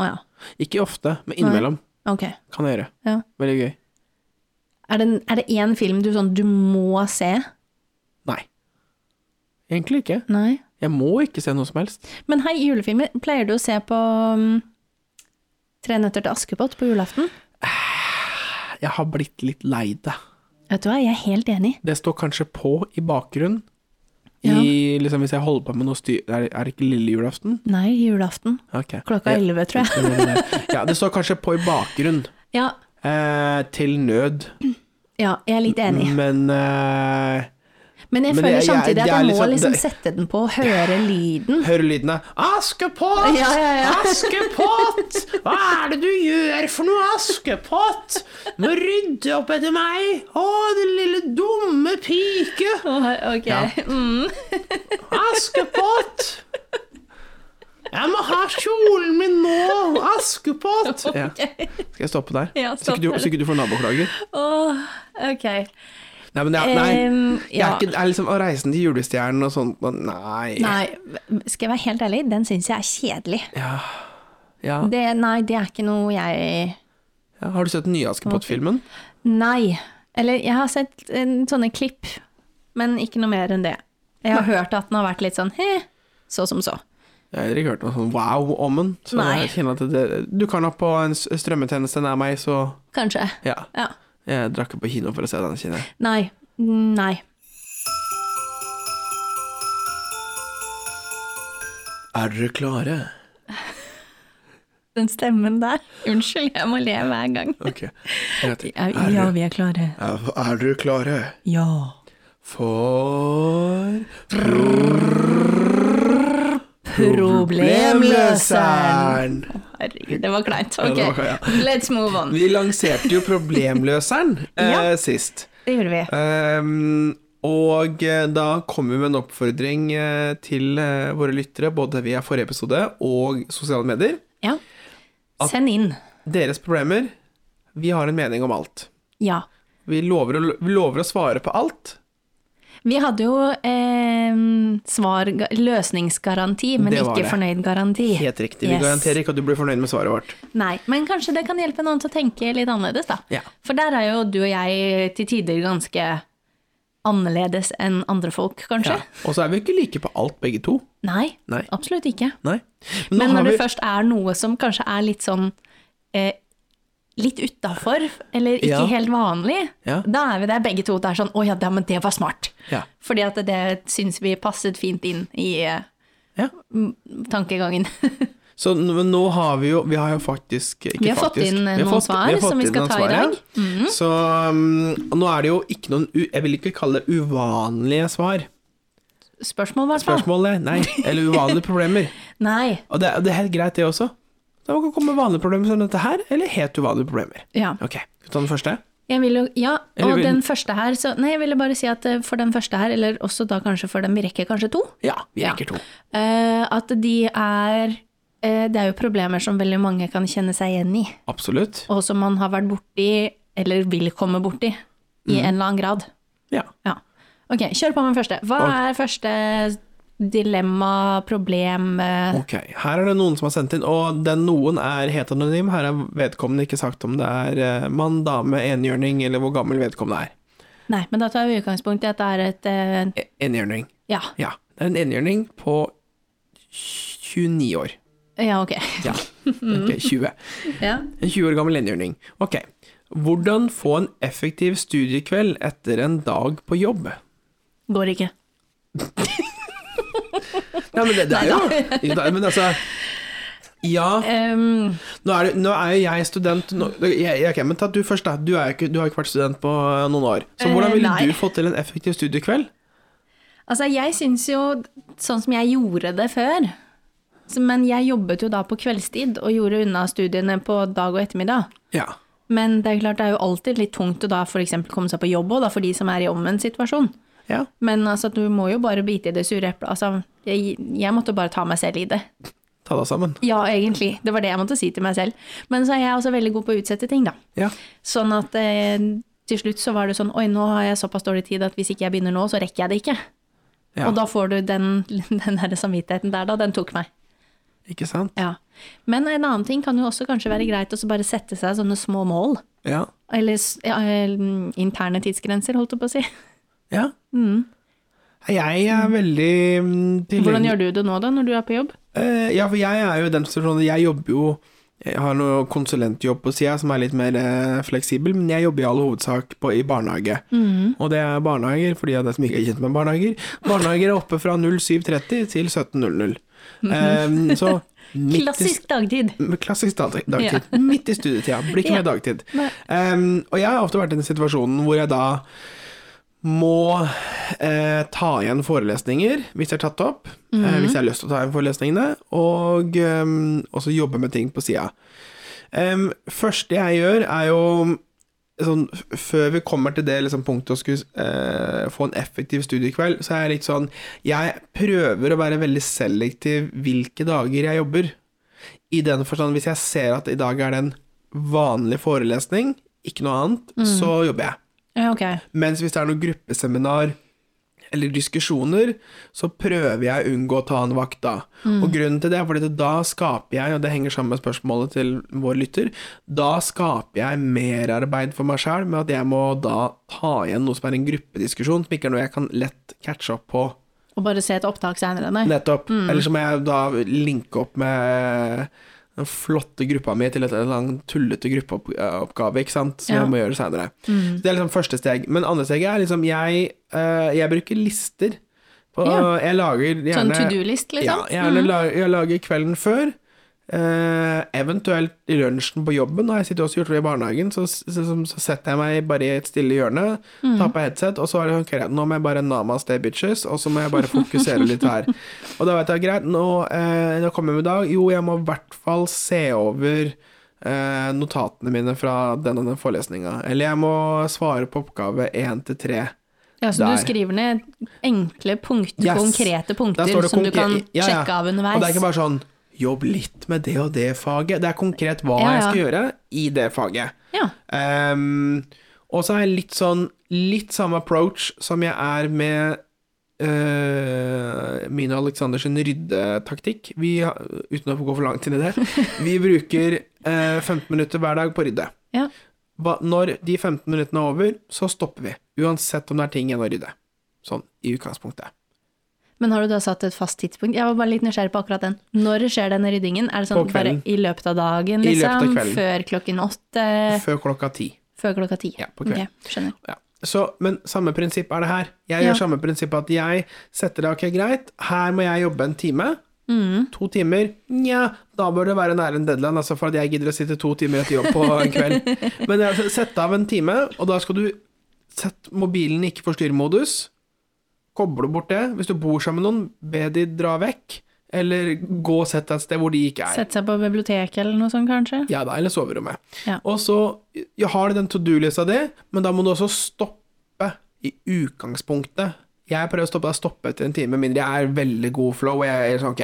Å ja. Ikke ofte, men innimellom Ok. kan jeg gjøre. Ja. Veldig gøy. Er det, er det én film du sånn, du må se? Nei. Egentlig ikke. Nei. Jeg må ikke se noe som helst. Men hei, julefilmer, pleier du å se på um, Tre nøtter til Askepott på julaften? Jeg har blitt litt lei det. Vet du hva, jeg er helt enig. Det står kanskje på i bakgrunnen. Ja. I, liksom, hvis jeg holder på med noe styr Er, er det ikke lille julaften? Nei, julaften. Ok. Klokka Jeg- elleve, tror jeg. eh, ja, det står kanskje på i bakgrunnen. Ja, Eh, til nød. ja, jeg er litt enig. Men eh, Men jeg Mm. Men føler jeg- jeg- samtidig at det er jeg litt må sånn- liksom det- sette den på og høre lyden. hører lyden av Askepott! Ja, ja, ja. Askepott! Hva er det du gjør for noe, Askepott? Må rydde opp etter meg! Å, din lille dumme pike! ok. Askepott! Jeg må ha kjolen min nå! Askepott! Ja. Skal jeg stoppe der? Ja, så stopp ikke du, der. så ikke du får naboklager. ok. Nei, men Eh, det er, nei. Em, Det er ja. ikke, det er liksom å reise til julestjernen og sånt, og nei. Nei, skal jeg være helt ærlig, den syns jeg er kjedelig. Ja. Det, nei, det er ikke noe jeg Ja, har du sett den nye Askepott-filmen? Nei. Eller jeg har sett eh, sånne klipp, men ikke noe mer enn det. Jeg har hørt at den har vært litt sånn he, så som så. Jeg har ikke hørt noe sånn wow om den. Så Nei. jeg kjenner at det, du kan ha på en s- strømmetjeneste nær meg, så Kanskje. ja. Ja. Jeg drar ikke på kino for å se den, kjenner jeg. Nei. Nei. Er dere klare? Den stemmen der. Unnskyld, jeg må le hver gang. Ok. En gang til. Ja, Er dere- vi er klare. Er er dere klare Ja. for Problemløseren. Problemløseren? Herregud, det var kleint. Ja, det Ok, var- ja. let's move on. Vi lanserte jo Problemløseren Ja. eh, sist. Det gjorde vi. Ehm, og eh, da kommer vi med en oppfordring eh, til eh, våre lyttere, både via forrige episode og sosiale medier. Ja. Send inn. Deres problemer. Vi har en mening om alt. Ja. Vi lover å, vi lover å svare på alt. Vi hadde jo eh, svar, løsningsgaranti, men Det var ikke det. fornøyd garanti. Helt riktig. Vi Yes. garanterer ikke at du blir fornøyd med svaret vårt. Nei, men kanskje det kan hjelpe noen til å tenke litt annerledes, da. Ja. For der er jo du og jeg til tider ganske annerledes enn andre folk, kanskje. Ja. Og så er vi ikke like på alt, begge to. Nei, Nei. absolutt ikke. Nei. nå Men har når det vi- først er noe som kanskje er litt sånn eh, Litt utafor, eller ikke Ja. helt vanlig, Ja. da er vi der begge to. Det er sånn 'Å ja, da, men det var smart'. Ja. Fordi at det syns vi passet fint inn i eh, Ja. m- tankegangen. Så n- men nå har vi jo Vi har jo faktisk ikke Vi har fått faktisk, inn, eh, vi har noen fått- svar har fått som vi inn skal noen ta i ja. dag. Mhm. Så um, og nå er det jo ikke noen u- Jeg vil ikke kalle det uvanlige svar. Spørsmål, i hvert fall. Spørsmålet. Nei. Eller uvanlige problemer. Nei. Og det, er- det er helt greit, det også. Da kan det komme vanlige problemer som dette her, eller helt uvanlige problemer. Ja. Ok, skal vi ta den første? Jeg vil jo, ja, Eller og vil- den første her så, Nei, jeg ville bare si at eh, for den første her, eller også da kanskje for den vi rekker kanskje to, Ja, vi Ja. rekker to. eh, at de er eh, Det er jo problemer som veldig mange kan kjenne seg igjen i, Absolutt. og som man har vært borti, eller vil komme borti, i Mm. en eller annen grad. Ja. Ja. Ok, kjør på med den første. Hva Ok. er første dilemma, problem eh, Ok, her er det noen som har sendt inn, og den noen er helt anonym. Her er vedkommende ikke sagt om det er eh, mann, dame, enhjørning, eller hvor gammel vedkommende er. Nei, men da tar vi utgangspunkt i at det er et eh, E- Enhjørning. Ja. Ja. Det er en enhjørning på 29 år. Ja, ok. Ja. Ok, 20. Ja. En 20 år gammel enhjørning. Ok. Hvordan få en effektiv studiekveld etter en dag på jobb? Går ikke. Nei, men det, det er jo Jo, det er- Men altså Ja. Um, Nå er, det, nå er jo jeg student nå, jeg, jeg, ok, Men ta du først, da. Du, er jo ikke, du har ikke vært student på noen år. Så Eh, hvordan ville nei. du fått til en effektiv studiekveld? Altså, jeg syns jo, sånn som jeg gjorde det før så- Men jeg jobbet jo da på kveldstid og gjorde unna studiene på dag og ettermiddag. Ja. Men det er klart det er jo alltid litt tungt å da f.eks. komme seg på jobb òg, for de som er i omvendt situasjon. Ja. Men altså, du må jo bare bite i det sure eplet. Altså, jeg, jeg måtte bare ta meg selv i det. Ta deg sammen. Ja, egentlig. Det var det jeg måtte si til meg selv. Men så er jeg også veldig god på å utsette ting, da. Ja. Sånn at eh, til slutt så var det sånn Oi, nå har jeg såpass dårlig tid at hvis ikke jeg begynner nå, så rekker jeg det ikke. ja. Og da får du den, den der samvittigheten der, da. Den tok meg. Ikke sant? Ja. Men en annen ting kan jo også kanskje være greit å så bare sette seg sånne små mål. Ja. Eller s- ja, eh, interne tidsgrenser, holdt jeg på å si. Mm. ja. Jeg er veldig mm, tilgjengelig Hvordan gjør du det nå, da, når du er på jobb? Eh, ja, for jeg er jo i den situasjonen Jeg jobber jo Jeg har noe konsulentjobb på sida som er litt mer eh, fleksibel, men jeg jobber i all hovedsak på, i barnehage. Mm. Og det er barnehager, for de av dere som ikke er kjent med barnehager. Barnehager er oppe fra 07.30 til 17.00. Eh, så midt i- Mhm. Klassisk dagtid. Klassisk dag, dagtid. Midt i studietida. Blir ikke Ja. mer dagtid. Nei. Ehm, og jeg har ofte vært i den situasjonen hvor jeg da må eh, ta igjen forelesninger hvis jeg er tatt opp, eh, Mhm. Mm. hvis jeg har lyst til å ta igjen forelesningene, og ehm, også jobbe med ting på sida. Um, første jeg gjør, er jo sånn, f- Før vi kommer til det liksom, punktet å skulle eh, få en effektiv studiekveld, så er jeg litt sånn Jeg prøver å være veldig selektiv hvilke dager jeg jobber. I den forstand, hvis jeg ser at i dag er det en vanlig forelesning, ikke noe annet, så jobber jeg. Ja, ok. Mens hvis det er noe gruppeseminar eller diskusjoner, så prøver jeg å unngå å ta en vakt da. Og grunnen til det er fordi at da skaper jeg, og det henger sammen med spørsmålet til vår lytter, da skaper jeg merarbeid for meg sjæl med at jeg må da ta igjen noe som er en gruppediskusjon, som ikke er noe jeg kan lett catche opp på Og bare se et opptak senere, nei. Mm. Nettopp. Eller så må jeg da linke opp med den flotte gruppa mi til et eller annet tullete gruppeoppgave, ikke sant, som Ja. Mm. jeg må gjøre seinere. Så Det er liksom første steg. Men andre steget er liksom jeg, eh, jeg bruker lister. På, Ja. Jeg lager gjerne Sånn to do-list, liksom? Ja, gjerne la- jeg lager kvelden før. eh, eventuelt i lunsjen på jobben, og jeg sitter også og gjør det i barnehagen, så, så, så, så setter jeg meg bare i et stille hjørne, tar på headset, og så er det sånn, greit, nå må jeg bare namaste bitches, og så må jeg bare fokusere litt her. Og da vet jeg, greit, nå, eh, nå kommer jeg med dag, jo, jeg må i hvert fall se over eh, notatene mine fra denne, denne forelesninga, eller jeg må svare på oppgave 1 til 3. Ja, så Der. du skriver ned enkle punkter, Yes. Der konkrete står punkter, det som du konkre- kan ja, ja. sjekke av underveis. Og det er ikke bare sånn Jobb litt med det og det faget. Det er konkret hva Ja, ja. jeg skal gjøre i det faget. Ja. Ehm, og så er jeg litt sånn Litt samme approach som jeg er med eh, min og Aleksanders ryddetaktikk. Vi, har- uten å gå for langt inn i det, vi bruker eh, 15 minutter hver dag på å rydde. Ja. hva, når de 15 minuttene er over, så stopper vi. Uansett om det er ting igjen å rydde. Sånn i utgangspunktet. Men har du da satt et fast tidspunkt? Jeg var bare litt nysgjerrig på akkurat den. Når skjer denne ryddingen? Er det På sånn bare kvelden. i løpet av dagen, I løpet av liksom? kvelden. Før klokken åtte? Før klokka ti. Før klokka ti? Ja, på kvelden. Ok, skjønner. Ja. Så, men samme prinsipp er det her. Jeg Ja. gjør samme prinsipp at jeg setter det ok, greit, her må jeg jobbe en time. Mm, To timer. Nja, da bør det være nære en deadline, altså for at jeg gidder å sitte to timer etter jobb på en kveld. Men jeg har sett av en time, og da skal du sette mobilen i ikke forstyrr-modus. Koble bort det. Hvis du bor sammen med noen, be de dra vekk. Eller gå og sett deg et sted hvor de ikke er. Sette seg på biblioteket eller noe sånt, kanskje? Ja da, eller soverommet. Ja. Og så ja, har du den to do-lista di, men da må du også stoppe i utgangspunktet. Jeg prøver å stoppe deg stoppe etter en time, mindre jeg er veldig god flow, og jeg er sånn, ok,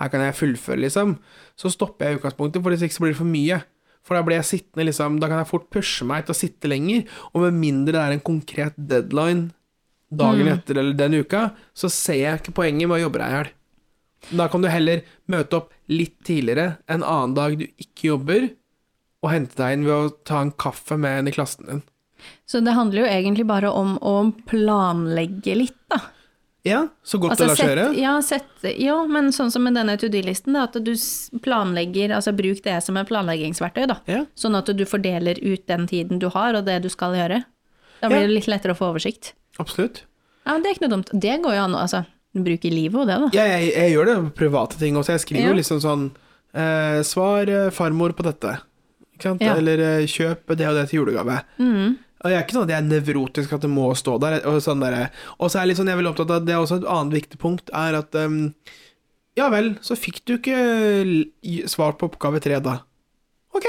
her kan jeg fullføre, liksom. Så stopper jeg i utgangspunktet, for hvis ikke så blir det for mye. For da blir jeg sittende, liksom, da kan jeg fort pushe meg til å sitte lenger, og med mindre det er en konkret deadline dagen etter eller den uka, så ser jeg ikke poenget med å jobbe deg i hjel. Da kan du heller møte opp litt tidligere en annen dag du ikke jobber, og hente deg inn ved å ta en kaffe med en i klassen din. Så det handler jo egentlig bare om å planlegge litt, da. Ja, så godt Altså, det lar seg gjøre. sett- Ja, sett- ja, men sånn som med denne to do-listen, da, at du s- planlegger, altså bruk det som et planleggingsverktøy, da. Ja. Sånn at du fordeler ut den tiden du har, og det du skal gjøre. Ja. Da blir det litt lettere å få oversikt. Absolutt. Ja, men det er ikke noe dumt. Det går jo an å altså, bruke livet og det, da. Ja, jeg, jeg gjør det på private ting også. Jeg skriver Ja. jo liksom sånn eh, Svar eh, farmor på dette. Ikke sant? Ja. Eller eh, kjøp det og det til julegave. Mm. Og jeg er ikke sånn at jeg er nevrotisk at det må stå der. Og sånn derre- Og så er jeg litt sånn, jeg er veldig opptatt av at det er også et annet viktig punkt, er at ehm, Ja vel, så fikk du ikke l- svar på oppgave tre, da. Ok,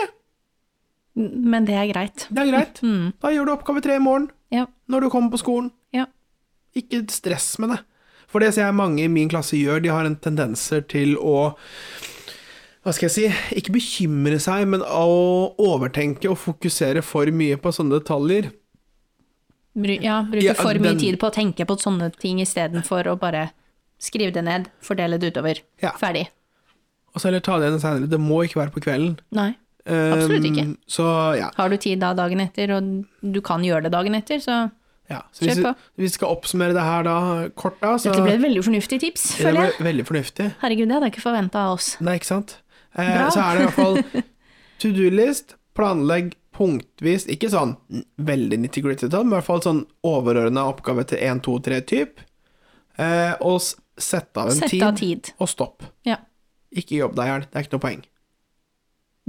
Men det er greit. det er greit. Da gjør du oppgave tre i morgen, Mm. Ja. når du kommer på skolen. ja. Ikke stress med det. For det ser jeg mange i min klasse gjør, de har en tendenser til å hva skal jeg si, ikke bekymre seg, men å overtenke og fokusere for mye på sånne detaljer. Bru ja bruke Ja, for mye den- tid på å tenke på sånne ting istedenfor å bare skrive det ned, fordele det utover. Ja. Ferdig. Og så heller ta det igjen senere. Det må ikke være på kvelden. Nei. Um, Absolutt ikke. Så ja. Har du tid da dagen etter, og du kan gjøre det dagen etter, så ja. Så hvis, Kjør vi, på. hvis vi skal oppsummere det her da, kort da, så Dette ble et veldig fornuftig tips, Ja, det føler jeg. ble veldig fornuftig. Herregud, det hadde jeg ikke forventa av oss. Nei, ikke sant? Eh, Bra. så er det i hvert fall to do-list, planlegg punktvis, ikke sånn veldig nitty-gritty, men i hvert fall sånn overordna oppgave til 1, 2, 3 type. Eh, og s- sette av en Sette tid, av tid. og stopp. Ja. Ikke jobb deg i hjel, det er ikke noe poeng.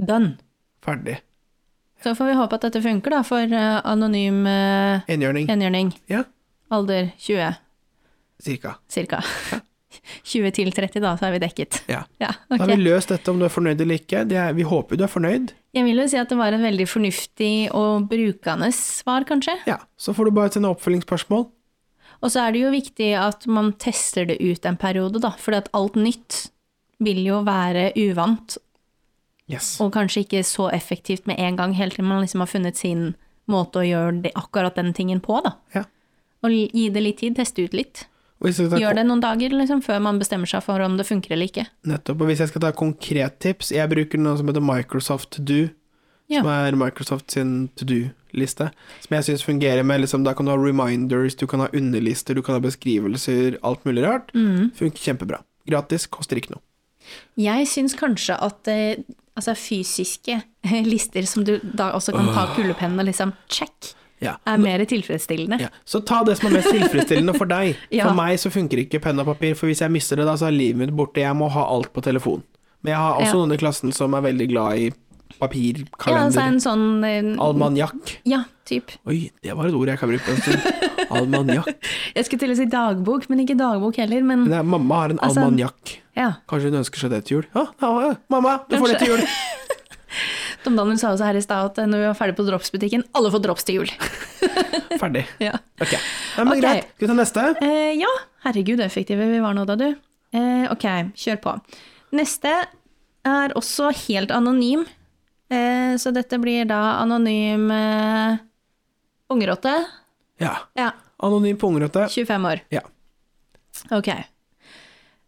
Done. Ferdig. Så får vi håpe at dette funker, da, for eh, anonym uh, Enhjørning. enhjørning. Ja, Alder 20, cirka. cirka. 20 til 30, da, så er vi dekket. Ja. Ja, Da har vi ok. løst dette om du er fornøyd eller ikke. Det er, vi håper du er fornøyd. Jeg vil jo si at det var et veldig fornuftig og brukende svar, kanskje. Ja, så får du bare sende oppfølgingsspørsmål. Og så er det jo viktig at man tester det ut en periode, da. For alt nytt vil jo være uvant, Yes. og kanskje ikke så effektivt med en gang, helt til man liksom har funnet sin måte å gjøre det, akkurat den tingen på, da. Ja. Og gi det litt tid, teste ut litt. Og hvis du skal ta- Gjør det noen dager, liksom, før man bestemmer seg for om det funker eller ikke. Nettopp. Og hvis jeg skal ta konkret tips, jeg bruker noe som heter Microsoft To Do. Ja. Som er Microsoft sin to do-liste. Som jeg syns fungerer med liksom, Da kan du ha reminders, du kan ha underlister, du kan ha beskrivelser, alt mulig rart. Mm. Funker kjempebra. Gratis, koster ikke noe. Jeg syns kanskje at eh, altså fysiske eh, lister som du da også kan ta kulepennen og liksom check, Ja. er mer tilfredsstillende. Ja. Så ta det som er mest tilfredsstillende for deg. Ja. For meg så funker ikke penn og papir, for hvis jeg mister det da, så er livet mitt borte. Jeg må ha alt på telefon. Men jeg har også Ja. noen i klassen som er veldig glad i papir, Ja, altså kalender, en sånn eh, almanjakk. Ja, typ. Oi, det var et ord jeg ikke har brukt på en stund. Almanjakk. Jeg skulle til å si dagbok, men ikke dagbok heller. Men Nei, mamma har en Altså- almanjakk. ja. Kanskje hun ønsker seg det til jul? Ja, ja, ja. mamma, du får det til jul! Tom Daniel sa også her i stad at eh, når vi var ferdig på dropsbutikken, alle får drops til jul. Ferdig. ja. Ok. Nei, men Ok. greit. Skal vi ta neste? Eh, ja, herregud, effektive vi var nå da, du. Eh, ok, kjør på. Neste er også helt anonym. Eh, så dette blir da anonym eh, ungerotte. Ja. Ja, Anonym pungrotte. 25 år. Ja. Ok.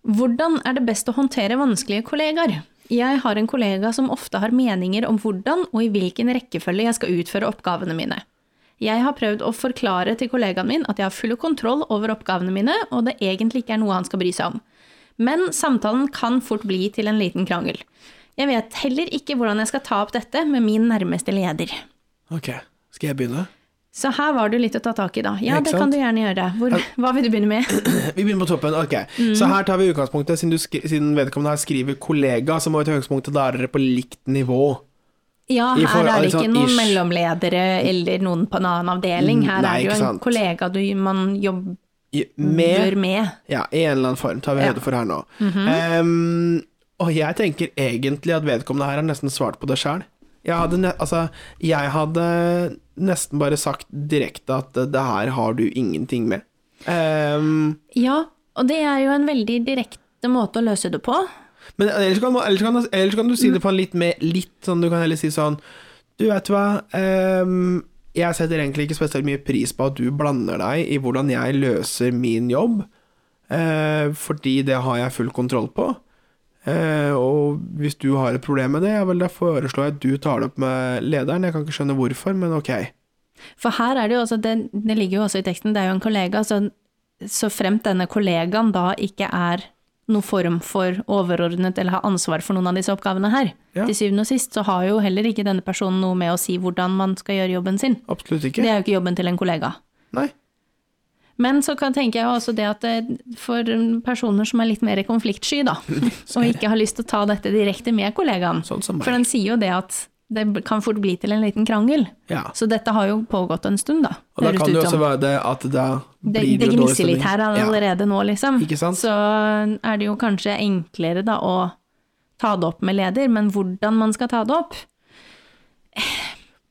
Hvordan er det best å håndtere vanskelige kollegaer? Jeg har en kollega som ofte har meninger om hvordan og i hvilken rekkefølge jeg skal utføre oppgavene mine. Jeg har prøvd å forklare til kollegaen min at jeg har full kontroll over oppgavene mine, og det egentlig ikke er noe han skal bry seg om. Men samtalen kan fort bli til en liten krangel. Jeg vet heller ikke hvordan jeg skal ta opp dette med min nærmeste leder. Ok, skal jeg begynne? Så her var det litt å ta tak i, da. Ja, Ikke det sant? kan du gjerne gjøre. Hvor, hva vil du begynne med? Vi begynner på toppen. ok. Så her tar vi utgangspunktet, siden, du skri siden vedkommende her skriver 'kollega', så må vi ta utgangspunktet da er dere på likt nivå. Ja, I her forhold- er det ikke sånn noen ish. Mm, mellomledere eller noen på en annen avdeling. Her Nei, er det ikke jo en sant. kollega du, man jobber I, med med. Ja, i en eller annen form, tar vi Ja. høyde for her nå. Ehm, og jeg tenker egentlig at vedkommende her har nesten svart på det sjøl. Jeg, hadde ne altså, jeg hadde nesten bare sagt direkte at eh, det her har du ingenting med. Ehm, Ja, og det er jo en veldig direkte måte å løse det på. men eh, ellers kan, ellers, kan, ellers kan du Mm. si det på en litt mer litt sånn, du kan heller si sånn Du vet hva, ehm, jeg setter egentlig ikke spesielt mye pris på at du blander deg i hvordan jeg løser min jobb, eh, fordi det har jeg full kontroll på. Eh, og hvis du har et problem med det, ja vel, da foreslår jeg at du tar det opp med lederen. Jeg kan ikke skjønne hvorfor, men ok. For her er det jo også, det, det ligger jo også i teksten, det er jo en kollega, så, så fremt denne kollegaen da ikke er noen form for overordnet eller har ansvar for noen av disse oppgavene her. Ja. Til syvende og sist så har jo heller ikke denne personen noe med å si hvordan man skal gjøre jobben sin. Absolutt Det ikke. er jo ikke jobben til en kollega. Nei. Men så kan, tenker jeg jo også det at det, for personer som er litt mer konfliktsky, da, og ikke har lyst til å ta dette direkte med kollegaen, Sånn som for meg. den sier jo det at det kan fort bli til en liten krangel. Ja. Så dette har jo pågått en stund, da. Og da høres kan det det ut jo også som. være det at da det, blir det det jo dårlig gnisser stemning. litt her allerede nå, liksom. Ikke sant? Så eh, er det jo kanskje enklere da å ta det opp med leder, men hvordan man skal ta det opp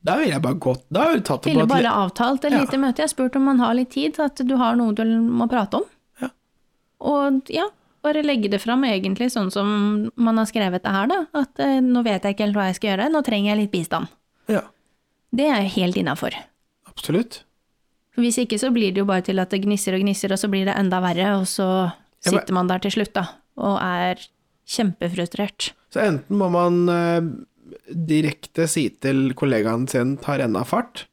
Da ville jeg bare gått Da har jeg tatt det på Ville et bare avtalt et Ja. lite møte. Jeg spurte om man har litt tid, at du har noe du må prate om. Ja. Og ja, bare legge det fram egentlig sånn som man har skrevet det her, da. At eh, nå vet jeg ikke helt hva jeg skal gjøre, nå trenger jeg litt bistand. le- Ja. Det er jo helt innafor. Absolutt. Hvis ikke så blir det jo bare til at det gnisser og gnisser, og så blir det enda verre, og så Ja, men- sitter man der til slutt, da, og er kjempefrustrert. Så enten må man eh, direkte si til kollegaen sin 'ta renna fart'.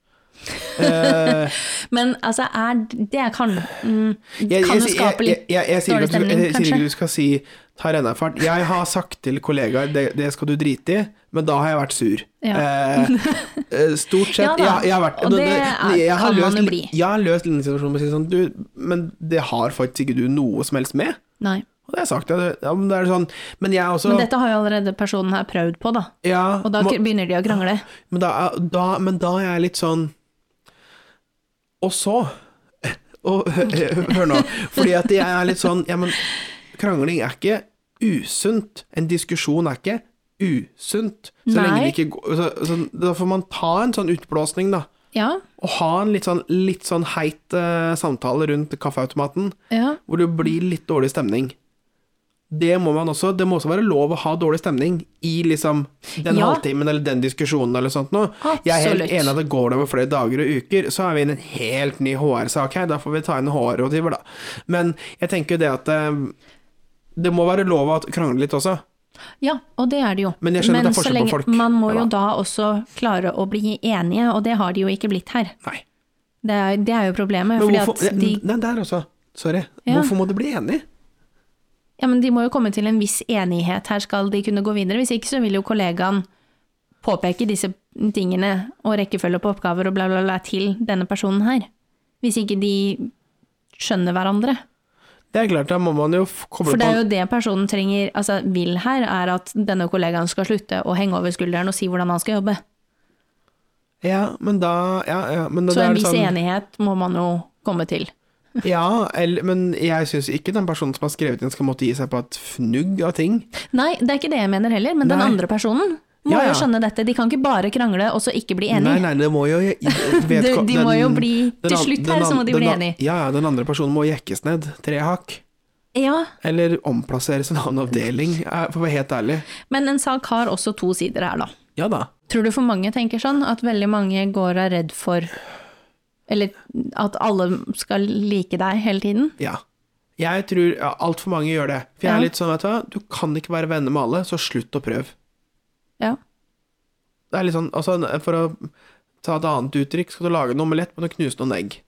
Eh, Men altså, er det kan, mm, jeg- kan jo jeg- skape jeg- jeg- litt jeg- jeg sier ikke dårlig at du skal- stemning, Jeg sier ikke kanskje? du skal si 'ta renna fart'. Jeg har sagt til kollegaer det, 'det skal du drite i', men da har jeg vært sur. Ja. Eh, eh, stort sett. Ja da, jeg, jeg har vært og det er- jeg har kan man løst- jo bli. Jeg har løst lignende situasjoner med å si sånn 'du, men det har faktisk ikke du noe som helst med'. Nei. Og det har jeg sagt. Ja, det- ja, men det er sånn Men jeg er også Men dette har jo allerede personen her prøvd på, da. ja, Og da må- begynner de å krangle. Men da, er- da, men da er jeg litt sånn Og så og, Hør nå. Fordi at jeg er litt sånn Ja, men krangling er ikke usunt. En diskusjon er ikke usunt. Så lenge Nei. det ikke går så, så, Da får man ta en sånn utblåsning, da. Ja, Og ha en litt sånn, litt sånn heit eh, samtale rundt kaffeautomaten, ja. hvor det blir litt dårlig stemning. Det må man også, det må også være lov å ha dårlig stemning i liksom den Ja. halvtimen eller den diskusjonen eller sånt noe. Jeg er helt Absolutt. enig at det går over flere dager og uker, så er vi inne i en helt ny HR-sak her, da får vi ta inn HR-rådgiver da. Men jeg tenker jo det at eh, det må være lov å krangle litt også. Ja, og det er det jo. Men jeg skjønner at det er så forskjell på lenge- folk. Man må Ja jo da. da også klare å bli enige, og det har de jo ikke blitt her. Nei. Det er, det er jo problemet. Men Fordi hvorfor, at de, Nei, der også. Sorry. Ja. Hvorfor må du bli enig? ja, men de må jo komme til en viss enighet. Her skal de kunne gå videre. Hvis ikke så vil jo kollegaen påpeke disse tingene og rekkefølge på oppgaver og bla, bla, bla til denne personen her. Hvis ikke de skjønner hverandre. Det er klart, da må man jo f- koble For på det er jo det personen trenger, altså vil her, er at denne kollegaen skal slutte å henge over skulderen og si hvordan han skal jobbe. Ja, men da ja, ja, men da, Så da er en det viss sånn, enighet må man jo komme til. Ja, eller, men jeg syns ikke den personen som har skrevet inn, skal måtte gi seg på et fnugg av ting. Nei, det er ikke det jeg mener heller, men den Nei. andre personen må Ja, ja. jo skjønne dette. De kan ikke bare krangle og så ikke bli Nei, enige. nei, det må jo vet, De, den- de må jo bli den Til an- slutt den her så må an- de bli den an- enige. Ja, ja, den andre personen må jekkes ned tre hakk. Ja, Eller omplasseres i en annen avdeling, eh, for å være helt ærlig. men en sak har også to sider her, da. Ja da. Tror du for mange tenker sånn? At veldig mange går og er redd for Eller at alle skal like deg hele tiden? Ja. Jeg tror ja, altfor mange gjør det. For jeg Ja. er litt sånn, vet du hva, du kan ikke være venner med alle, så slutt å prøve. Ja. Det er litt sånn, altså, for å ta et annet uttrykk, skal du lage en omelett, må du knuse noen egg.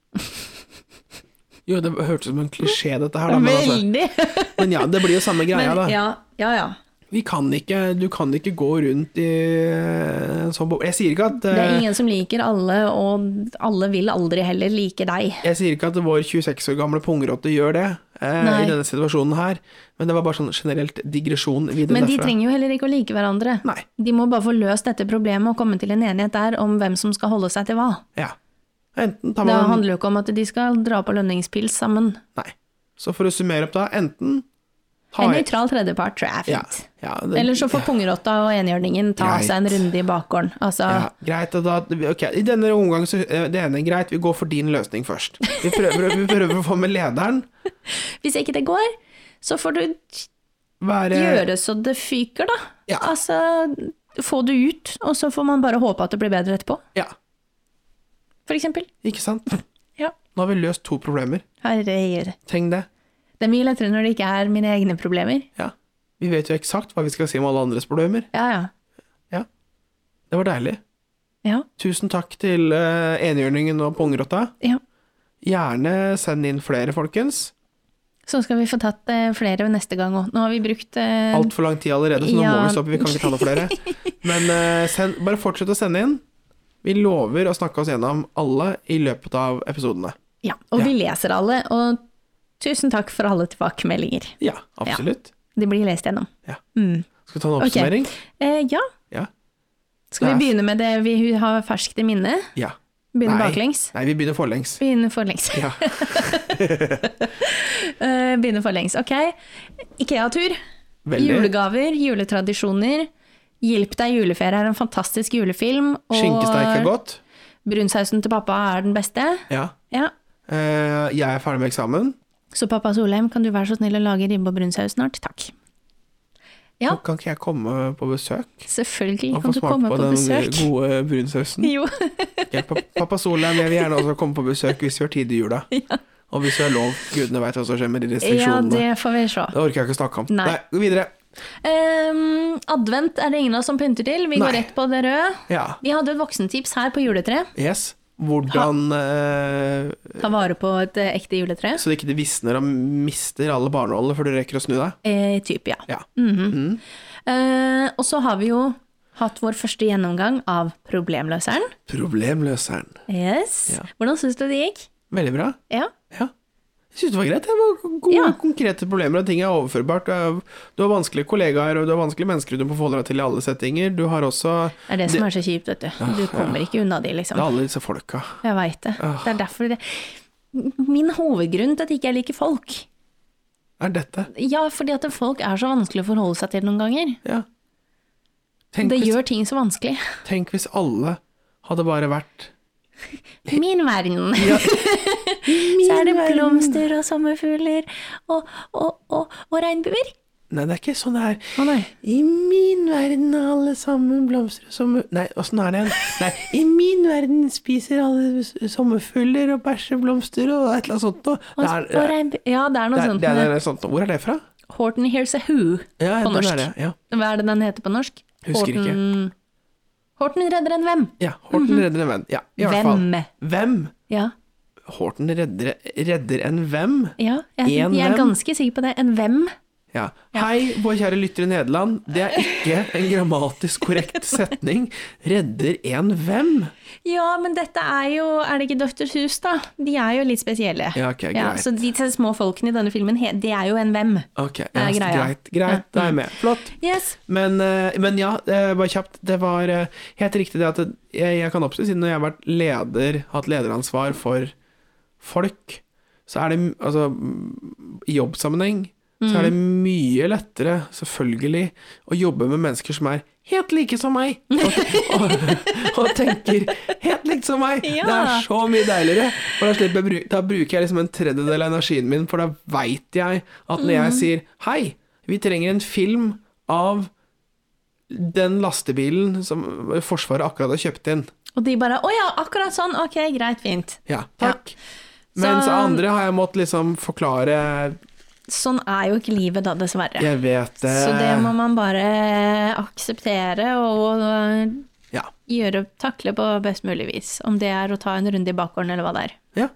Jo, det hørtes ut som en klisjé, dette her, da, men, altså, Veldig! men ja, det blir jo samme greia, Men, da. ja, ja, ja. Vi kan ikke, du kan ikke gå rundt i en sånn boble. Jeg sier ikke at Det eh, er ingen som liker alle, og alle vil aldri heller like deg. Jeg sier ikke at vår 26 år gamle pungrotte gjør det eh, Nei. i denne situasjonen her, men det var bare sånn generelt digresjon videre Men de derfra. trenger jo heller ikke å like hverandre. Nei. De må bare få løst dette problemet og komme til en enighet der om hvem som skal holde seg til hva. Ja. Enten tar Det man handler jo ikke om at de skal dra på lønningspils sammen. Nei. Så for å summere opp, da, enten ta En i- nøytral tredjepart tror jeg er ja, fint. ja, det, Eller så får pungrotta og enhjørningen ta Greit. seg en runde i bakgården. Altså, ja, Greit, og da Ok, i denne omgang så eh, Det ene er greit, vi går for din løsning først. Vi prøver, vi prøver å få med lederen. hvis ikke det går, så får du Være gjøre så det fyker, da. Ja. Altså, få det ut, og så får man bare håpe at det blir bedre etterpå, Ja, for eksempel. ikke sant? Ja. Nå har vi løst to problemer. Herregud. Tenk det. Det er mye lettere når det ikke er mine egne problemer. Ja. Vi vet jo eksakt hva vi skal si om alle andres problemer. Ja, ja. Det var deilig. Ja, Tusen takk til uh, enhjørningen og pungrotta. ja. Gjerne send inn flere, folkens. Så skal vi få tatt eh, flere neste gang òg. Nå har vi brukt eh, Altfor lang tid allerede, så nå Ja. må vi stoppe. Vi kan ikke ta noe flere. Men eh, send, bare fortsett å sende inn. Vi lover å snakke oss gjennom alle i løpet av episodene. Ja, og Ja. vi leser alle, og tusen takk for alle tilbakemeldinger. Ja, absolutt. De blir lest gjennom. Ja. Mm. Skal vi ta en oppsummering? Eh, ja, Ja. skal Det er- vi begynne med det vi har ferskt i minne? ja. Begynne Nei. baklengs? Nei, vi begynner forlengs. Begynne forlengs. Ja. Eh, begynne forlengs. Ok. Ikea-tur, Veldig. julegaver, juletradisjoner. Hjelp deg juleferie er en fantastisk julefilm. Skinkesteik er godt. brunsausen til pappa er den beste. Ja. Ja. Eh, jeg er ferdig med eksamen. Så pappa Solheim, kan du være så snill å lage ribbe og brunsaus snart? Takk. Ja. Kan ikke jeg komme på besøk Selvfølgelig og kan få du smake komme på, på, den besøk. gode brunsausen? Jo, Ja, pa- Pappa Solheim, jeg vil gjerne også komme på besøk hvis vi har tid i jula. Og hvis vi har lov. Gudene veit hva som skjer med de ja, restriksjonene. det får vi se. det... orker jeg ikke å snakke om. Nei. gå videre. Ehm, advent er det ingen av oss som pynter til. Vi går Nei. rett på det røde. Ja. Vi hadde et voksentips her på juletre. Yes. Hvordan eh, Ta vare på et eh, ekte juletre. Så det ikke det visner og mister alle barnålene før du rekker å snu deg. Eh, typ, ja. Ja. Mhm. Mm. Eh, og så har vi jo hatt vår første gjennomgang av problemløseren. Problemløseren. Yes. Ja. Hvordan syns du det gikk? Veldig bra. Ja. Ja. Jeg syns det var greit. Det var gode, Ja. konkrete problemer, og ting er overførbart. Du er- Du har vanskelige kollegaer, og du har vanskelige mennesker du må forholde deg til i alle settinger. Du har også Det er det som er så kjipt, vet du. Ah, Du kommer ikke unna de, liksom. Det er alle disse folka. Jeg veit det. Det er derfor det Min hovedgrunn til at jeg ikke liker folk Er dette Ja, fordi at folk er så vanskelig å forholde seg til noen ganger. Ja. Tenk det hvis, gjør ting så vanskelig. tenk hvis alle hadde bare vært Min verden. så er det blomster og sommerfugler og, og, og, og regnbuer. Nei, det er ikke sånn det er. Å nei. I min verden er alle sammen blomster og sommer... Nei, åssen er det igjen? Nei, i min verden spiser alle s- sommerfugler og bæsjeblomster og et eller annet sånt noe. Og, Det er, og regnbu- Ja, det er noe det er, sånt. det er, det med er sånt noe. Hvor er det fra? Horton Hears a Who. Ja, På den norsk. Er det. Ja. Hva er det den heter på norsk? Husker ikke. Horton- Horton redder en hvem? ja. Horten redder en venn. Ja, i hvert fall. Mhm. Hvem? Hvem? Ja, Horten redder, redder en hvem? ja jeg, En jeg er hvem? ganske sikker på det. En hvem? Ja. Hei, vår kjære lytter i Nederland. Det er ikke en grammatisk korrekt setning. Redder en hvem? Ja, men dette er jo Er det ikke Døfters hus, da? De er jo litt spesielle. Ja, ok, Ja, greit. så de små folkene i denne filmen, he- det er jo en hvem. Ok, ja, er så greia. greit. Greit, da er jeg med. Flott. Yes. Men, eh, men ja, eh, bare kjapt. Det var eh, helt riktig det at det- jeg, jeg kan oppstå, siden jeg har vært leder, hatt lederansvar for folk, så er det m- Altså, m- i jobbsammenheng så er det mye lettere, selvfølgelig, å jobbe med mennesker som er helt like som meg, og, og, og tenker helt likt som meg. Det Ja. er så mye deiligere. For da, slipper jeg, bru- da bruker jeg liksom en tredjedel av energien min, for da veit jeg at når jeg sier hei, vi trenger en film av den lastebilen som Forsvaret akkurat har kjøpt inn. Og de bare Å ja, akkurat sånn. Ok, greit, fint. Ja, takk. Ja. Mens Så- andre har jeg måttet liksom forklare sånn er jo ikke livet da, dessverre. Jeg vet det. Så det må man bare akseptere og Ja. gjøre, takle på best mulig vis. Om det er å ta en runde i bakgården eller hva det er. Ja.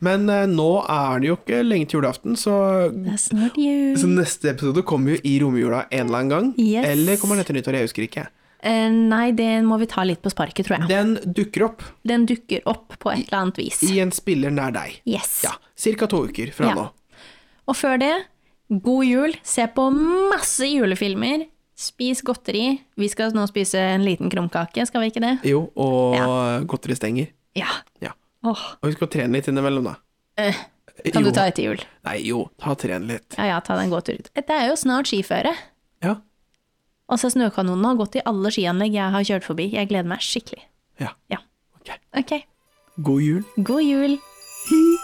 Men eh, nå er det jo ikke lenge til julaften, så, Det er snart jul. så neste episode kommer jo i romjula en eller annen gang. Yes. Eller kommer den etter nyttår, jeg husker ikke. Eh, nei, det må vi ta litt på sparket, tror jeg. Den dukker opp Den dukker opp på et eller annet vis. i en spiller nær deg. Yes. Ja, Cirka to uker fra Ja. nå. Og før det, god jul. Se på masse julefilmer. Spis godteri. Vi skal nå spise en liten krumkake, skal vi ikke det? Jo, og godteri stenger. Ja. Ja. Åh. Og husk å trene litt innimellom, da. Eh, kan jo. du ta etter jul? Nei, jo, ta tren litt. Ja ja, ta deg en god tur ut. Eh, Det er jo snart skiføre. Ja. Altså, snøkanonene har gått i alle skianlegg jeg har kjørt forbi. Jeg gleder meg skikkelig. Ja. Ja. Ok. Ok. God jul. God jul. Hi.